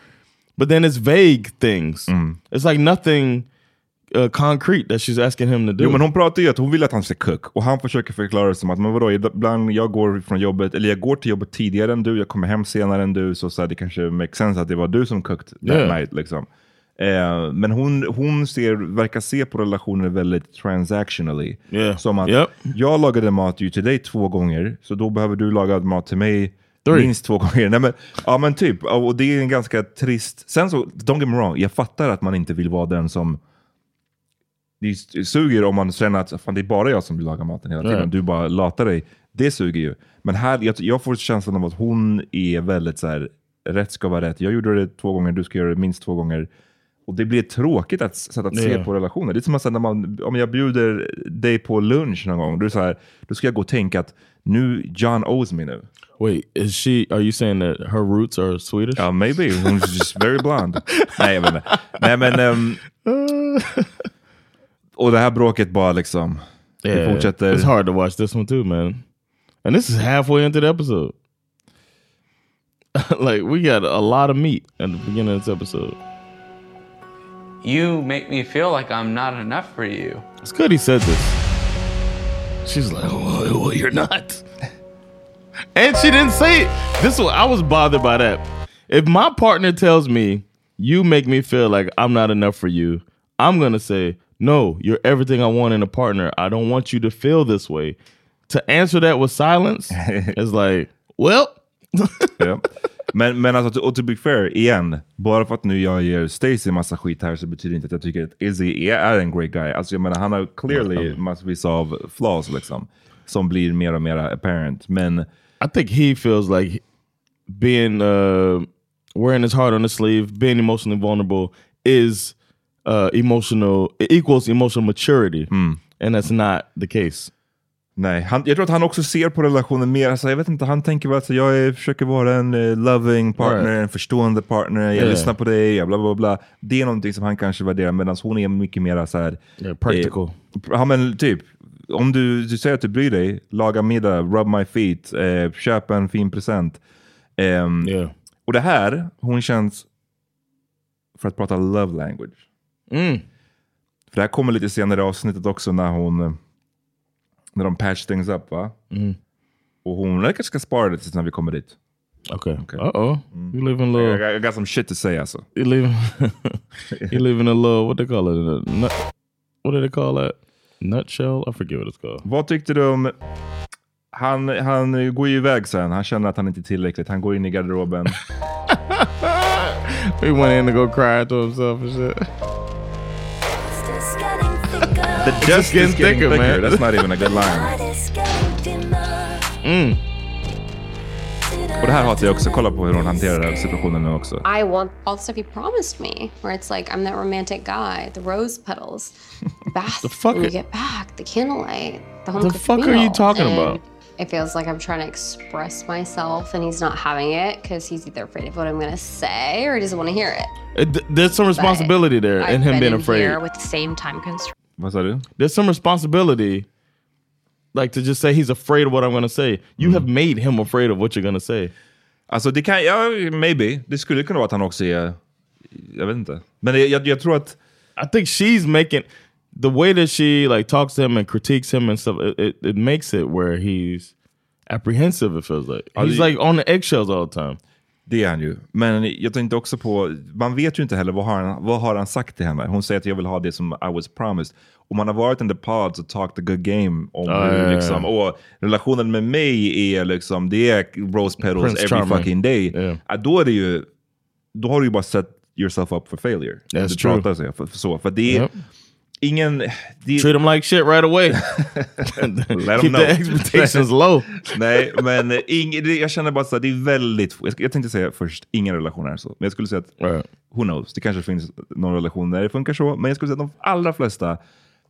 but then it's vague things.
Mm.
It's like nothing uh, concrete that she's asking him to do.
Jo men hon pratar ju att hon vill att han ska cook och han försöker förklara det som att men vadå, ibland jag går från jobbet, eller jag går till jobbet tidigare än du, jag kommer hem senare än du, så, så här, det kanske makes sense att det var du som cooked that
Yeah.
night. Liksom. Eh, men hon, hon ser, verkar se på relationer väldigt transactionally. Som att jag lagade mat ju till dig två gånger, så då behöver du laga mat till mig
Three.
minst två gånger. Nej, men, ja men typ, och det är en ganska trist... Sen så, don't get me wrong, jag fattar att man inte vill vara den som det suger om man känner att fan, det är bara jag som vill laga maten hela tiden.
Ja.
Du bara latar dig. Det suger ju. Men här, jag, jag får känslan av att hon är väldigt så här, rätt ska vara rätt. Jag gjorde det två gånger, du ska göra det minst två gånger. Och det blir tråkigt att, s- sätt att
Ja.
se på relationer. Det är som att så här, när man, om jag bjuder dig på lunch någon gång, då, är det så här, då ska jag gå och tänka att nu, John owes me nu.
Wait, is she? Are you saying that her roots are Swedish?
Uh, maybe. She's just very blonde. Nej, jag vet inte. Nej, men... ehm, och det här bråket bara liksom, det fortsätter.
It's hard to watch this one too, man. And this is halfway into the episode. like we got a lot of meat at the beginning of this episode.
You make me feel like I'm not enough for you.
It's good he said this. She's like, "Oh, well, well, you're not. And she didn't say it. This one, I was bothered by that. If my partner tells me, you make me feel like I'm not enough for you, I'm going to say, no, you're everything I want in a partner. I don't want you to feel this way. To answer that with silence is like, well.
ja. men, men alltså, och to be fair, igen. Bara för att nu jag ger Stacey massa skit här så betyder det inte att jag tycker att Izzy är, är en great guy. Alltså jag menar, han har clearly massvis av flaws liksom. Som blir mer och mer apparent. Men...
I think he feels like being uh, wearing his heart on his sleeve, being emotionally vulnerable is uh, emotional it equals emotional maturity, and that's not the case.
Nej, han, jag tror att han också ser på relationen mer, alltså, jag vet inte, han tänker väl att alltså, jag är, försöker vara en eh, loving partner,
Right.
en förstående partner, jag
Yeah.
lyssnar på dig, jag bla bla bla. Det är någonting som han kanske värderar, medan hon är mycket mer så här...
practical.
Eh, ja men typ, om du, du säger att du bryr dig, laga middag, rub my feet, eh, köp en fin present. Ehm, Och det här, hon känns, för att prata love language,
Mm.
för det här kommer lite senare i avsnittet också när hon eh, när de patch things up va?
Mm.
Och hon jag kanske ska spara det tills när vi kommer dit.
Okej. Uh-oh. You live in
I,
little
got- I got some shit to say alltså.
you live you live in a little what they call it? A nut, what do they call that? Nutshell? I forget what it's called.
Vad tyckte du om... Han, han går ju iväg sen, han känner att han inte är tillräckligt. Han går in i garderoben.
He went in to go cry to himself and shit.
The
just
dust is getting thicker,
man.
that's not even a good line.
Mm.
Mm. Och det här hatar jag också. Kolla på hur hon hanterar den här situationen nu också.
I want all the stuff you promised me, where it's like, I'm that romantic guy, the rose petals, the bath
The fuck
when
are-
you get back, the candlelight, the home
The
cooked
fuck are you
meal.
talking
And
about?
It feels like I'm trying to express myself, and he's not having it because he's either afraid of what I'm going to say or he doesn't want to hear it.
It- th- There's some responsibility there
I've
in him
been
being
in
afraid.
here with the same time constraint.
Vad sa du?
There's some responsibility, like to just say he's afraid of what I'm gonna say. You have made him afraid of what you're gonna say.
Alltså det kan, ja, maybe. Det skulle kunna vara att han också är, jag vet inte. Men jag, jag, jag tror att...
I think she's making the way that she like talks to him and critiques him and stuff. It, it, it makes it where he's apprehensive. It feels like he's like on the eggshells all the time.
Alltså, Det är han ju. Men jag tänkte också på, man vet ju inte heller vad har han, vad har han sagt till henne? Hon säger att jag vill ha det som I was promised. Och man har varit in the pods och talked a good game om
Ja,
hur
ja, ja, ja.
liksom, och relationen med mig är liksom, det är rose petals
Prince
every
Charming.
fucking day. Ja, Då är det ju, då har du ju bara set yourself up for failure.
That's
du
true.
pratar så, för, så, för det är
Yep.
ingen... Det,
Treat him like shit right away.
Let
Keep
them know.
the expectations low.
Nej, men eh, ing, det- jag känner bara så här, det är väldigt få. Jag, sk- jag tänkte säga först, ingen relation är så. Men jag skulle säga att, who knows, det kanske finns någon relation där det funkar så. Men jag skulle säga att de allra flesta,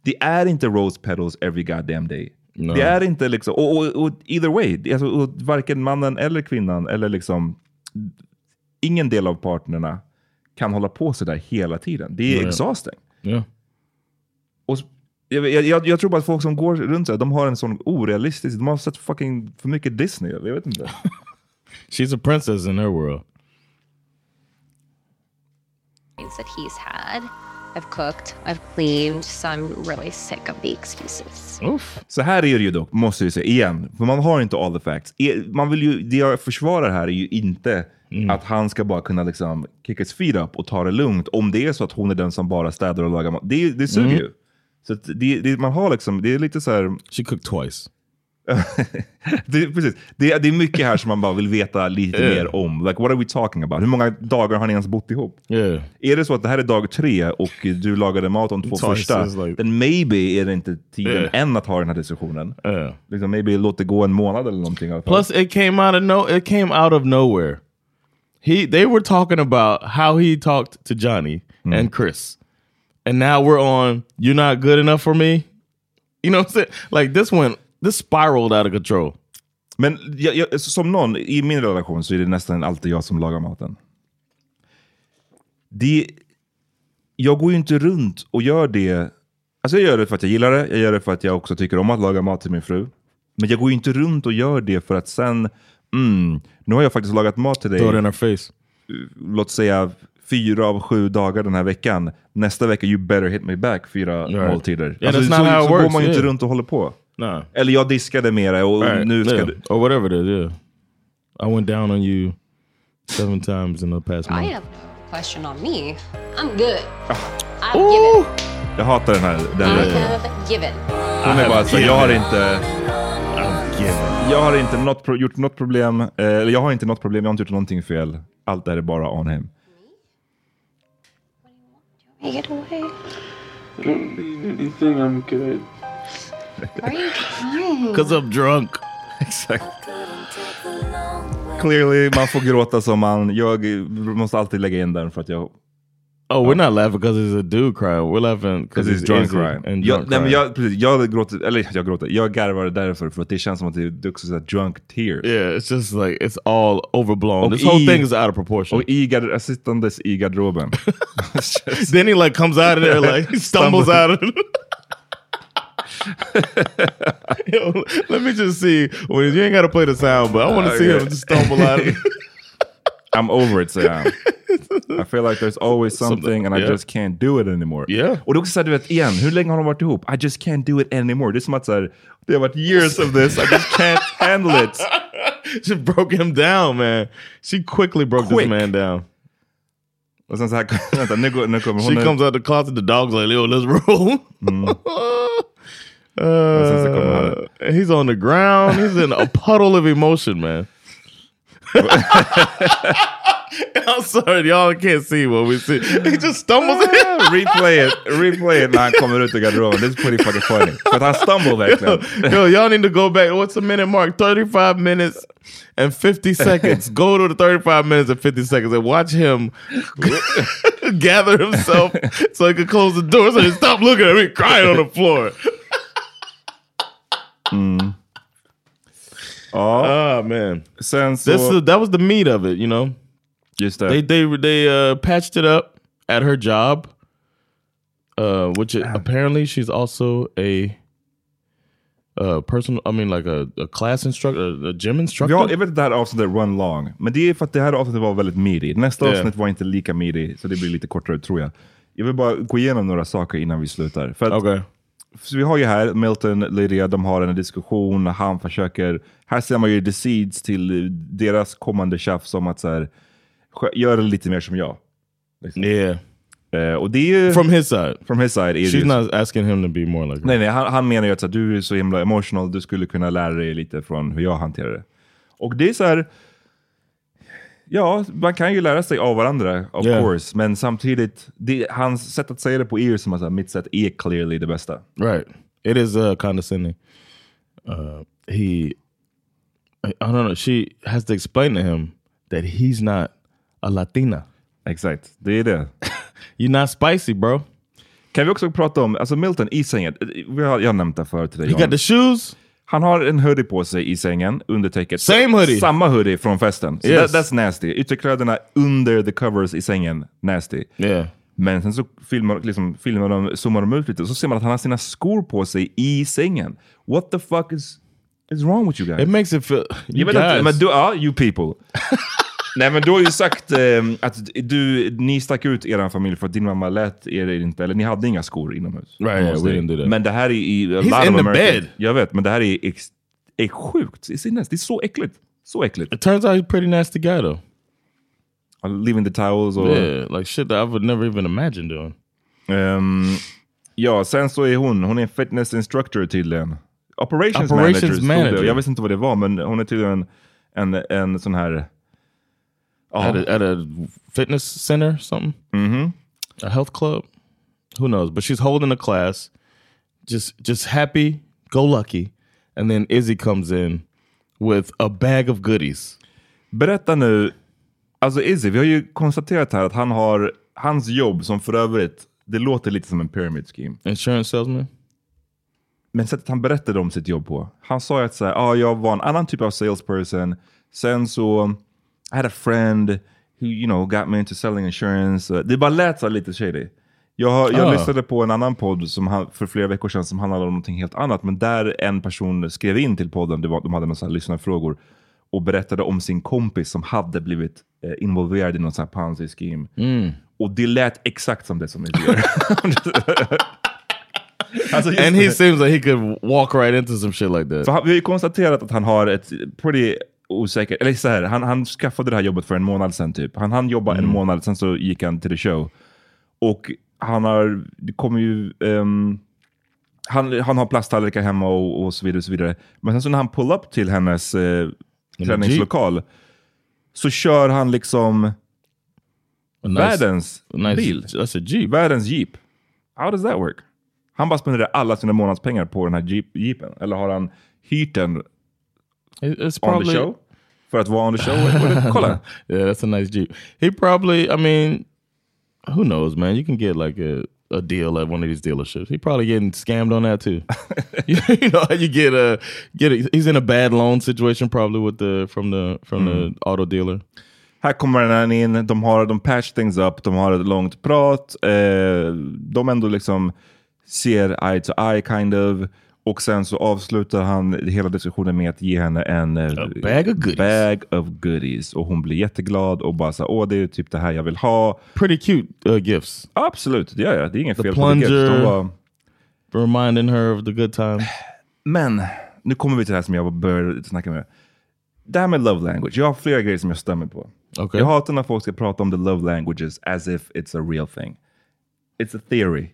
det är inte rose petals every goddamn day. Det är inte liksom, och, och, och either way, det- alltså, och varken mannen eller kvinnan eller liksom, ingen del av partnerna kan hålla på så där hela tiden. Det är
Nej.
exhausting.
Yeah.
Och s- jag, jag- jag, jag tror bara att folk som går runt så här, de har en sån orealistisk, de har sett fucking för mycket Disney. Jag vet inte.
She's a princess in her world.
that he's had. I've cooked, I've cleaned, so I'm really sick of the excuses.
Så här är det ju dock, måste vi säga igen, för man har inte all the facts. E- Man vill ju, det jag försvarar här är ju inte
Mm.
att han ska bara kunna liksom kick his feet up och ta det lugnt om det är så att hon är den som bara städar och lagar mat. Det, det suger
Mm.
ju. Så att det, det, man har liksom, det är lite så här...
She cooked twice.
det, precis. Det, det är mycket här som man bara vill veta lite
Yeah.
mer om. Like, what are we talking about? Hur många dagar har ni ens bott ihop?
Yeah.
Är det så att det här är dag tre och du lagade mat de två
Twice
första,
is like-
then maybe är det inte tiden
Yeah.
än att ha den här diskussionen. Liksom, maybe låt det gå en månad eller någonting. i alla fall.
Plus, it came out of no. It came out of nowhere. He they were talking about how he talked to Johnny and Chris, and now we're on. You're not good enough for me. You know what I'm saying? Like this went. This spiraled out of control.
Men jag, jag, som någon, i min relation så är det nästan alltid jag som lagar maten. Det, jag går ju inte runt och gör det. Alltså jag gör det för att jag gillar det. Jag gör det för att jag också tycker om att laga mat till min fru. Men jag går ju inte runt och gör det för att sen, mm, nu har jag faktiskt lagat mat till dig.
Throw it in her face.
Låt säga fyra av sju dagar den här veckan. Nästa vecka, you better hit me back fyra
Right.
måltider. Alltså,
Yeah, that's not
så
how it
så går
works,
man ju inte
yeah.
runt och håller på.
Nah.
Eller jag diskade mera och
Right,
nu ska
yeah.
du...
or whatever it is. Yeah, I went down on you seven times in the past
I
month.
have no question on me. I'm good. I've
Jag hatar den här. Den
given. I
repliken.
have given.
Hon är bara så här, jag har inte... uh,
given.
Jag har inte något, pro- gjort något problem, eh, eller jag har inte något problem, jag har inte gjort någonting fel. Allt det här är bara on him.
Hey, get away.
I don't
Mm-hmm.
need anything. I'm good.
Why are you crying?
Cause I'm drunk.
Exakt. Clearly, man får gråta som man. Jag eh, måste alltid lägga in den för att jag...
Oh, we're not laughing because it's a dude crying. We're laughing because
Cause
he's,
he's drunk
innocent
crying.
And
jag,
drunk
nej, men
crying.
jag, precis, jag gråter, eller jag gråter, jag garvar därför för att det känns som att det det är också så här drunk tears.
Yeah, it's just like it's all overblown.
Och
this whole
i-
thing is out of proportion.
Och i, gar- sittandes i garderoben.
then he like comes out of there like he stumbles out of Yo, let me just see. Well, you ain't got to play the sound, but I want to see him just stumble out of it.
I'm over it, säger han. I feel like there's always something,
Something,
and I
yeah.
just can't do it anymore.
Yeah.
Och det är också så här, du vet, igen, hur länge har de varit ihop? I just can't do it anymore. Det är som att så här, det har varit years of this, I just can't handle it.
She broke him down man. She quickly broke this man down.
Och sen så här, vänta, nu, går- nu kommer hon
She
ut.
comes out the closet, the dog's like, yo, let's roll. Uh, he's on the ground. He's in a puddle of emotion, man. I'm sorry, y'all can't see what we see. He just stumbles in.
replay it, replay it när han kommer ut ur garderoben. This is pretty fucking funny. För att han stumble verkligen.
Yo, yo, y'all need to go back. What's the minute mark? 35 minutes and 50 seconds. Go to the 35 minutes and 50 seconds and watch him gather himself so he could close the door so he stop looking at me crying on the floor.
Ja.
Oh man.
Sen så...
This is, that was the meat of it, you know.
Just
They they they uh, patched it up at her job, uh, which it, apparently she's also a uh, personal. I mean, like a, a class instructor, a gym instructor.
Ja, jag vet att det här avsnittet är run long, men det är för att det här avsnittet var väldigt meaty. Nästa
Ja.
avsnitt var inte lika meaty, så det blir lite kortare tror jag. Jag vill bara gå igenom några saker innan vi slutar. För att, så vi har ju här Milton, Lydia, de har en diskussion, han försöker... Här ser man ju the seeds till deras kommande tjafs om att så här, skö- gör det lite mer som jag. Liksom. Eh, och det är ju...
From his side.
From his side. är det ju
She's
så.
not asking him to be more like.
Nej, nej, han, han menar ju att så här, du är så himla emotional, du skulle kunna lära dig lite från hur jag hanterar det. Och det är så här, ja, man kan ju lära sig av varandra, of
Yeah.
course, men samtidigt, det, hans sätt att säga det på er som att så här, mitt sätt är clearly det bästa.
Right. It is uh, condescending. Uh, he, I, I don't know. She has to explain to him that he's not a Latina.
Exakt. Det är det.
You're not spicy, bro.
Kan vi också prata om, alltså Milton i sängen, vi har, jag har nämnt det förut till dig.
He got the shoes.
Han har en hoodie på sig i sängen under täcket.
Same hoodie.
Samma hoodie från festen. So
Yes.
that, that's nasty. Ytterkläderna under the covers i sängen, nasty. Men sen så filmar, liksom, filmar de, zoomar de ut lite och så ser man att han har sina skor på sig i sängen. What the fuck is, is wrong with you guys?
It makes it feel.
Jag
You
vet inte,
guys.
men du, ja, you people. Nej men du har ju sagt ehm, att du, ni stack ut er familj för att din mamma lät er inte, eller ni hade inga skor inomhus.
Right, yeah, we didn't do that.
Men det här är i... a
He's
lot of
in the
American-
bed.
Jag vet, men det här är, ex, är sjukt. Det är, sinnes. det är så äckligt. Så äckligt.
It turns out he's a pretty nasty guy though.
Uh, Leaving the towels or...
Yeah, like shit that I would never even imagine doing.
Ehm, ja, sen så är hon, hon är fitness instructor tydligen.
Operations
Operations, manager, stod det.
manager.
Jag visste inte vad det var, men hon är tydligen en, en, en sån här... Ja.
At, a, at a fitness center or something.
Mhm.
A health club. Who knows? But she's holding a class, just just happy, go lucky, and then Izzy comes in with a bag of goodies.
Berätta nu, alltså Izzy, vi har ju konstaterat här att han har, hans jobb som för övrigt, det låter lite som en pyramid scheme.
Insurance salesman?
Men sättet han berättade om sitt jobb på. Han sa ju att så här, ah, jag var en annan typ av salesperson, sen så, I had a friend who you know got me into selling insurance. Det bara lät så här lite shady. Jag, har, jag
Ah.
lyssnade på en annan podd som han, för flera veckor sedan som handlade om någonting helt annat, men där en person skrev in till podden, det var, de hade några så här lyssnarfrågor, och berättade om sin kompis som hade blivit eh, involverad i någon sån här ponzi scheme.
Mm.
Och det lät exakt som det som vi gör. Alltså, just
and he
det.
seems like he could walk right into some shit like that.
För han, vi har ju konstaterat att han har ett pretty osäkert... Eller så här, han, han skaffade det här jobbet för en månad sedan typ. Han hann jobba
Mm.
en månad, sen så gick han till the show. Och han har... Det kommer ju... ehm, han, han har plasttallrikar hemma och, och så vidare. och så vidare. Men sen så när han pull up till hennes eh, träningslokal så kör han liksom
nice-
världens
a nice-
bil.
That's a jeep.
Världens jeep. How does that work? Han bara spenderar alla sina månadspengar på den här jeep, jeepen. Eller har han hyrt den
It- It's
on
probably
the show? För att vara on the show? Kolla.
yeah, that's a nice Jeep. He probably, I mean, who knows, man? You can get like a, a deal at one of these dealerships. He probably getting scammed on that too. you, know, you get a get. A, he's in a bad loan situation probably with the from the from the auto dealer.
Mm. Här kommer den här in, de har de patch things up, de har ett långt prat, eh, de ändå liksom ser eye to eye kind of. Och sen så avslutar han hela diskussionen med att ge henne en eh,
bag of goodies.
bag of goodies. Och hon blir jätteglad och bara så här, åh det är typ det här jag vill ha.
Pretty cute uh, gifts.
Absolut, det gör jag. Det är inget
The
fel på det.
plunger.
De bara,
Reminding her of the good time.
Men nu kommer vi till det här som jag började snacka med. Det här med love language. Jag har flera grejer som jag stämmer på.
Okej.
Jag hatar när folk ska prata om the love languages as if it's a real thing. It's a theory.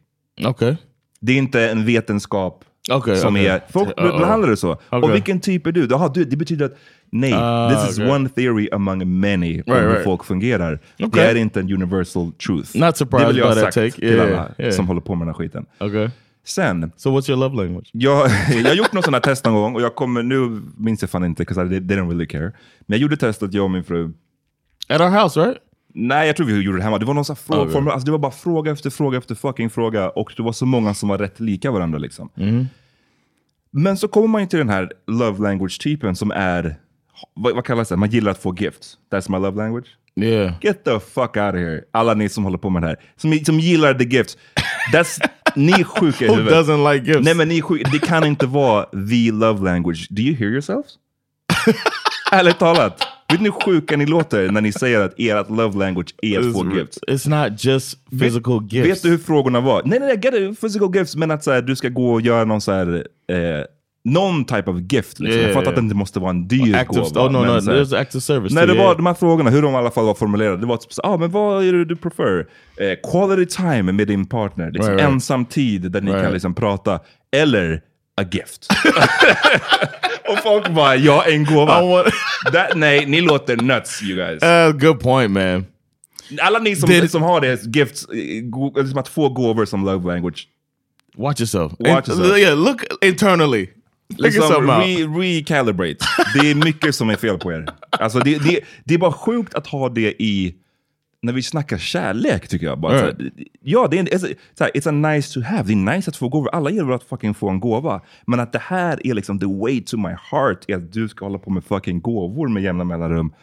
Okay.
Det är inte en vetenskap.
Okej,
som
okej.
är, folk
Uh-oh.
behandlar det så.
Okej.
Och vilken typ är du? Jaha, du det betyder att nej,
Ah,
this is
okej.
one theory among many om
Right,
hur
right.
folk fungerar.
Okej.
Det är inte en universal truth.
Not surprised
det vill jag ha
by that
sagt
take.
till
Yeah,
alla
yeah.
som håller på med den här skiten.
Okay.
Sen.
So what's your love language?
Jag, jag har gjort någon sån här test någon gång och jag kommer, nu minns jag fan inte, because I did- didn't really care. Men jag gjorde testet, jag och min fru.
At our house right?
Nej, jag tror vi gjorde det hemma. Det var någon sån här fråga,
Okay.
formel- alltså det var bara fråga efter fråga efter fucking fråga. Och det var så många som var rätt lika varandra liksom.
Mm.
Men så kommer man ju till den här love language-typen som är, vad, vad kallas det? Man gillar att få gifts. That's my love language.
Yeah.
Get the fuck out of here. Alla ni som håller på med det här. Som, som gillar the gifts. That's, ni är sjuka i
Who
huvudet.
doesn't like gifts?
Nej men ni är sjuka. Det kan inte vara the love language. Do you hear yourselves? Ärligt talat. Vet ni hur sjuka ni låter när ni säger att ert love language är att få gifts?
It's not just physical
vet,
gifts.
Vet du hur frågorna var? Nej, nej, nej, get it, physical gifts, men att så här, du ska gå och göra någon så här, eh, någon type of gift. Liksom.
Yeah,
jag fattar
yeah.
att det inte måste vara en dyr
Active-
gåva.
oh, no,
men
no,
så här-
there's active service
Nej,
too,
det
yeah.
var de här frågorna, hur de i alla fall var formulerade. Det var typ så ah, men vad är det du prefer? Eh, quality time med din partner. Liksom,
Right, right.
Ensam tid där ni
Right.
kan liksom prata. Eller a gift. och folk bara, ja, en gåva. That, nej, ni låter nuts you guys.
Uh, good point man.
Alla ni som,
Did-
som har det, gifts, eh, go- liksom att få gåvor som love language.
Watch yourself.
Watch
And-
yourself.
Yeah, look internally. Look
Liksom,
yourself out.
re, recalibrate. Det är mycket som är fel på er. Alltså, det, det, det är bara sjukt att ha det i... När vi snackar kärlek tycker jag. Bara,
Right.
så här, ja, det är, en- it's, a, så här, it's a nice to have. Det är nice att få gåvor. Alla gillar att fucking få en gåva. Men att det här är liksom the way to my heart. Är att du ska hålla på med fucking gåvor med jämna mellanrum.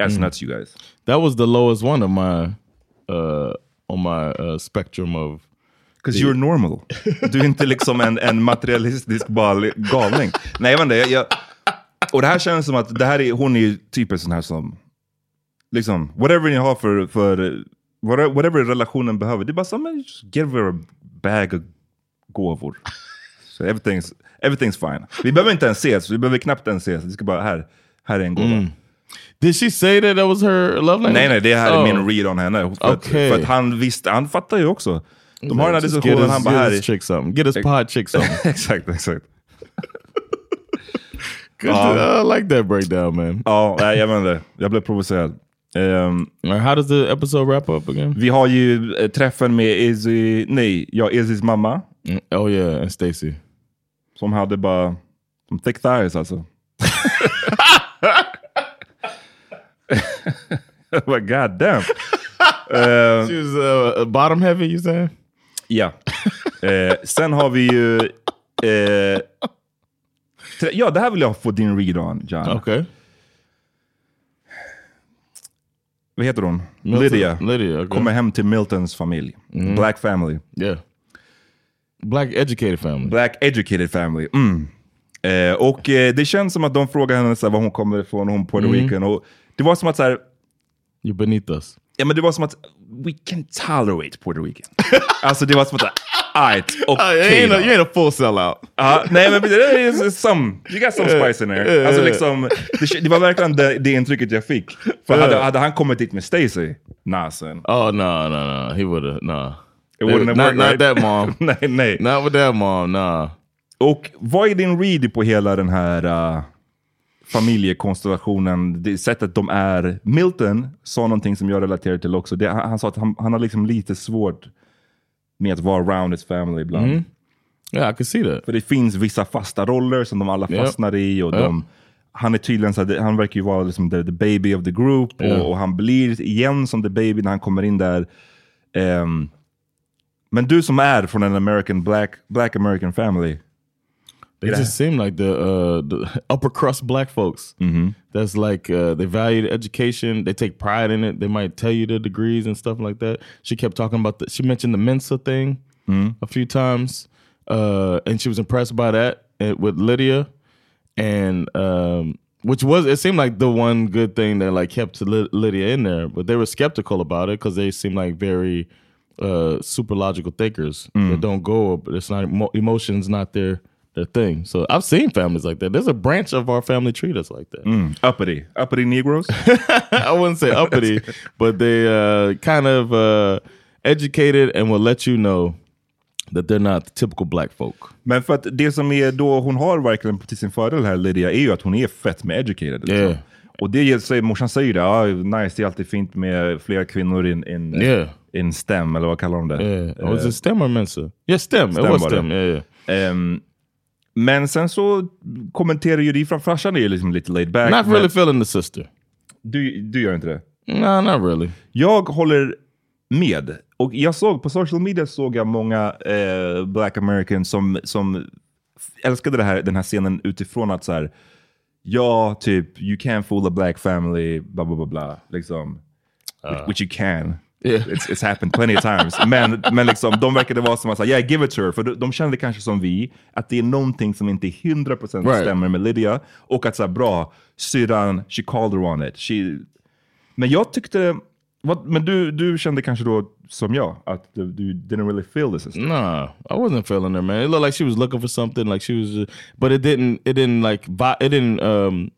Mm.
That's nuts you guys.
That was the lowest one of my uh, on my uh, spectrum of.
Because you're normal. Du är inte liksom en, en materialistisk bal- galning. Nej, jag vet inte. Jag, jag, och det här känns som att det här är, hon är ju typ en sån här som... Liksom, whatever ni har för... för whate- whatever relationen behöver. Det är bara så, men just give her a bag of gåvor. So everything's, everything's fine. Vi behöver inte ens ses. Vi behöver knappt ens ses. Vi ska bara, här, här är en gåva.
Mm. Did she say that that was her love language?
Nej, nej, det här
Oh.
är min read on henne. För,
Okej.
att, för att han visste, han fattar ju också. De har den här
Just get
diskussionen,
us-
han bara
get
här...
us chick something. Get us pod chick something.
exakt, exakt.
Good,
um,
I like that breakdown man.
Ja, Oh, nej, jag vet inte. Jag blev provocerad. Ehm,
How does the episode wrap up again?
vi har ju eh, träffen med Izzy, nej, ja, Izzys mamma.
oh yeah, and Stacy.
Som hade bara, som thick thighs alltså. But god damn. Ehm,
She was uh, bottom heavy. You saying?
Ja. Eh, sen har vi ju... Eh, tre- ja, det här vill jag få din read on, John.
Okej.
Vad heter hon?
Milton-
Lydia.
Lydia, okej.
Kommer hem till Miltons familj.
Mhm.
Black family.
Yeah. Black educated family.
Black educated family. Mm. Eh, och eh, det känns som att de frågar henne så här, var hon kommer ifrån, hon Puerto
Mm.
Rican. Och det var som att så här,
You beneath us.
Ja, men det var som att we can tolerate Puerto Rican. alltså det var som att, alright, okej
you ain't a- you
a full sellout. Ah, nej, men det är some, you got some
Eh,
spice in there. Alltså liksom, det, det var verkligen det, det intrycket jag fick.
Eh.
För hade, hade han kommit dit med Stacy, nah son.
Oh no, no, no. He would have no.
It wouldn't have
not,
worked,
not
right?
that mom.
nej, nej.
Not with that mom, nah.
Och vad är din read på hela den här uh, familjekonstellationen? Det sättet de är. Milton sa någonting som jag relaterar till också. Det, han, han sa att han, han har liksom lite svårt med att vara around his family ibland.
Mhm. Yeah, I could see that.
För det finns vissa fasta roller som de alla
Ja.
fastnar i. Och
Ja.
de, han är tydligen så här, han verkar ju vara liksom the, the baby of the group.
Ja.
Och, och han blir igen som the baby när han kommer in där. Ehm, men du som är från en American black, black American family.
They
Yeah.
just seem like the uh, the upper crust black folks.
Mhm.
That's like uh, they value education. They take pride in it. They might tell you the degrees and stuff like that. She kept talking about the. She mentioned the Mensa thing
Mhm.
a few times, uh, and she was impressed by that uh, with Lydia, and um, which was it seemed like the one good thing that like kept Ly- Lydia in there. But they were skeptical about it because they seemed like very uh, super logical thinkers
Mm.
that don't go. But it's not emo- emotions, not their their thing. So I've seen families like that. There's a branch of our family tree that's like that.
Mm. Uppity. Uppity Negroes?
I wouldn't say uppity, but they uh, kind of uh, educated and will let you know that they're not the typical black folk.
Men för att det som är då hon har verkligen till sin fördel här, Lydia, är ju att hon är fett med educated. liksom.
Yeah.
Och det ger sig, morsan säger ju det, ah, nice, det är alltid fint med flera kvinnor in, in,
Yeah.
in STEM, eller vad kallar de det? Eh.
Yeah. Oh, is it STEM or Mensa? Yeah, STEM. It was
var det.
STEM. Yeah,
Ehm, men sen så kommenterar ju det från farsan, är ju liksom lite laid back.
Not
men-
really feeling the sister.
Du, du gör inte det?
No, not really.
Jag håller med. Och jag såg på social media såg jag många eh, black americans som, som f- älskade det här, den här scenen utifrån att så här, ja, typ, you can fool a black family, bla bla bla bla, liksom. Which, which you can.
Uh, Yeah.
It's, it's happened plenty of times. men, men liksom, de verkade vara som att säga, yeah, give it to her. För de, de kände kanske som vi, att det är någonting som inte 100%
Right.
stämmer med Lydia. Och att så här, bra, syrran, she called her on it. She, men jag tyckte, vad, men du, du kände kanske då som jag, att du, du didn't really feel this system.
Nah, I wasn't feeling her, man. It looked like she was looking for something, like she was, but it didn't. It didn't like. vi- It didn't. Um,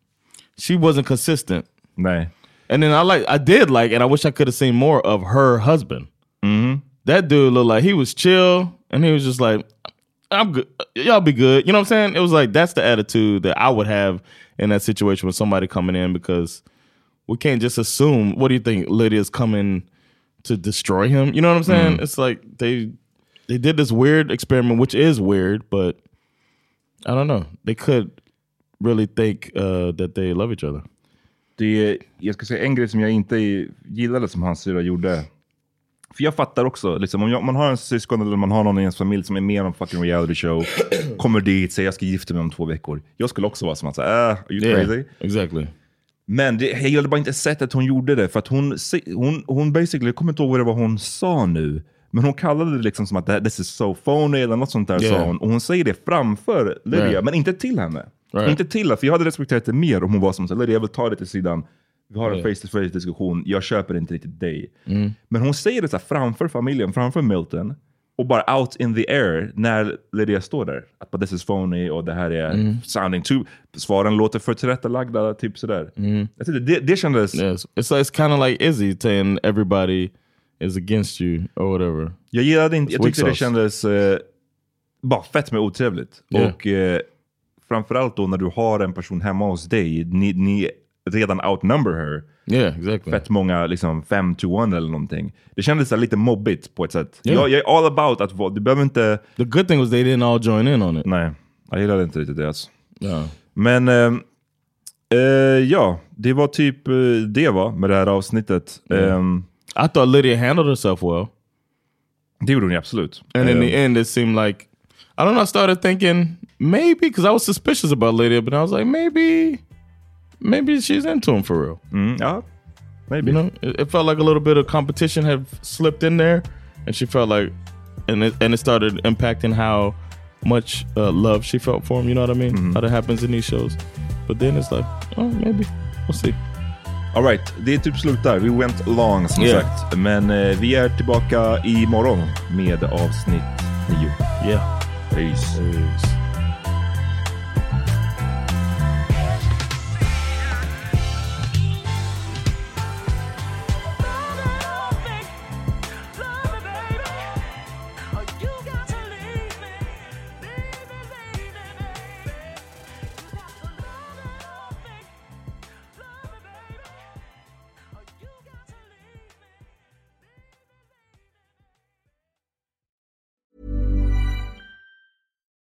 she wasn't consistent.
Nah.
And then I like. I did like, and I wish I could have seen more of her husband. That dude looked like he was chill, and he was just like, "I'm good. Y'all be good." You know what I'm saying? It was like that's the attitude that I would have in that situation with somebody coming in because we can't just assume. What do you think Lydia's coming to destroy him? You know what I'm saying?
Mhm.
It's like they they did this weird experiment, which is weird, but I don't know. They could really think uh, that they love each other.
Det, jag ska säga en grej som jag inte gillade som hans syrra gjorde. För jag fattar också, liksom, om jag, man har en syskon eller man har någon i ens familj som är med om en fucking reality show, kommer dit, säger jag ska gifta mig om två veckor. Jag skulle också vara som att, säga, äh, are you
Yeah,
crazy?
exactly.
Men det, jag gillade bara inte sättet hon gjorde det, för att hon, se- hon, hon basically, jag kommer inte ihåg vad det var hon sa nu, men hon kallade det liksom som att "That- this is so phony eller något sånt där
Yeah.
sa hon. Och hon säger det framför Lydia,
Right.
men inte till henne.
Right.
Inte till henne, för jag hade respekterat det mer om hon var som så här, Lydia jag vill ta det till sidan, vi har en
Yeah.
face to face diskussion, jag köper inte riktigt dig.
Mm.
Men hon säger det så här framför familjen, framför Milton. Och bara out in the air när Lydia står där. Att bara, this is phony och det här är
Mm.
sounding too... Svaren låter för tillrättalagda, typ sådär.
Mm.
Jag tyckte det, det kändes...
Yes. It's like, it's kind of like Izzy saying everybody is against you or whatever.
Jag gillade inte... Jag
Weak
tyckte det
sauce.
kändes eh, bara fett med otrevligt.
Yeah.
Och eh, framförallt då när du har en person hemma hos dig. Ni, ni redan outnumber her.
Yeah, exactly.
Fett många, liksom fem to one eller någonting. Det kändes så här lite mobbigt på ett sätt.
Yeah.
Jag, jag är all about att vara- du behöver inte...
The good thing was they didn't all join in on it.
Nej, jag gillade inte riktigt det alltså.
Ja.
Men ehm, eh, ja, det var typ eh, det var med det här avsnittet.
Yeah.
Ehm,
I thought Lydia handled herself well.
Det gjorde hon ju absolut.
And in
Ehm,
the end, it seemed like I don't know. I started thinking maybe because I was suspicious about Lydia, but I was like maybe, maybe she's into him for real.
Mm, yeah, maybe.
You know, it, it felt like a little bit of competition had slipped in there, and she felt like, and it and it started impacting how much uh, love she felt for him. You know what I mean? How that happens in these shows. But then it's like, oh, maybe we'll see.
All right, det är typ slut där. We went long som
Yeah.
sagt. Men eh, vi är tillbaka imorgon med avsnitt nio.
Yeah.
Peace. Oh,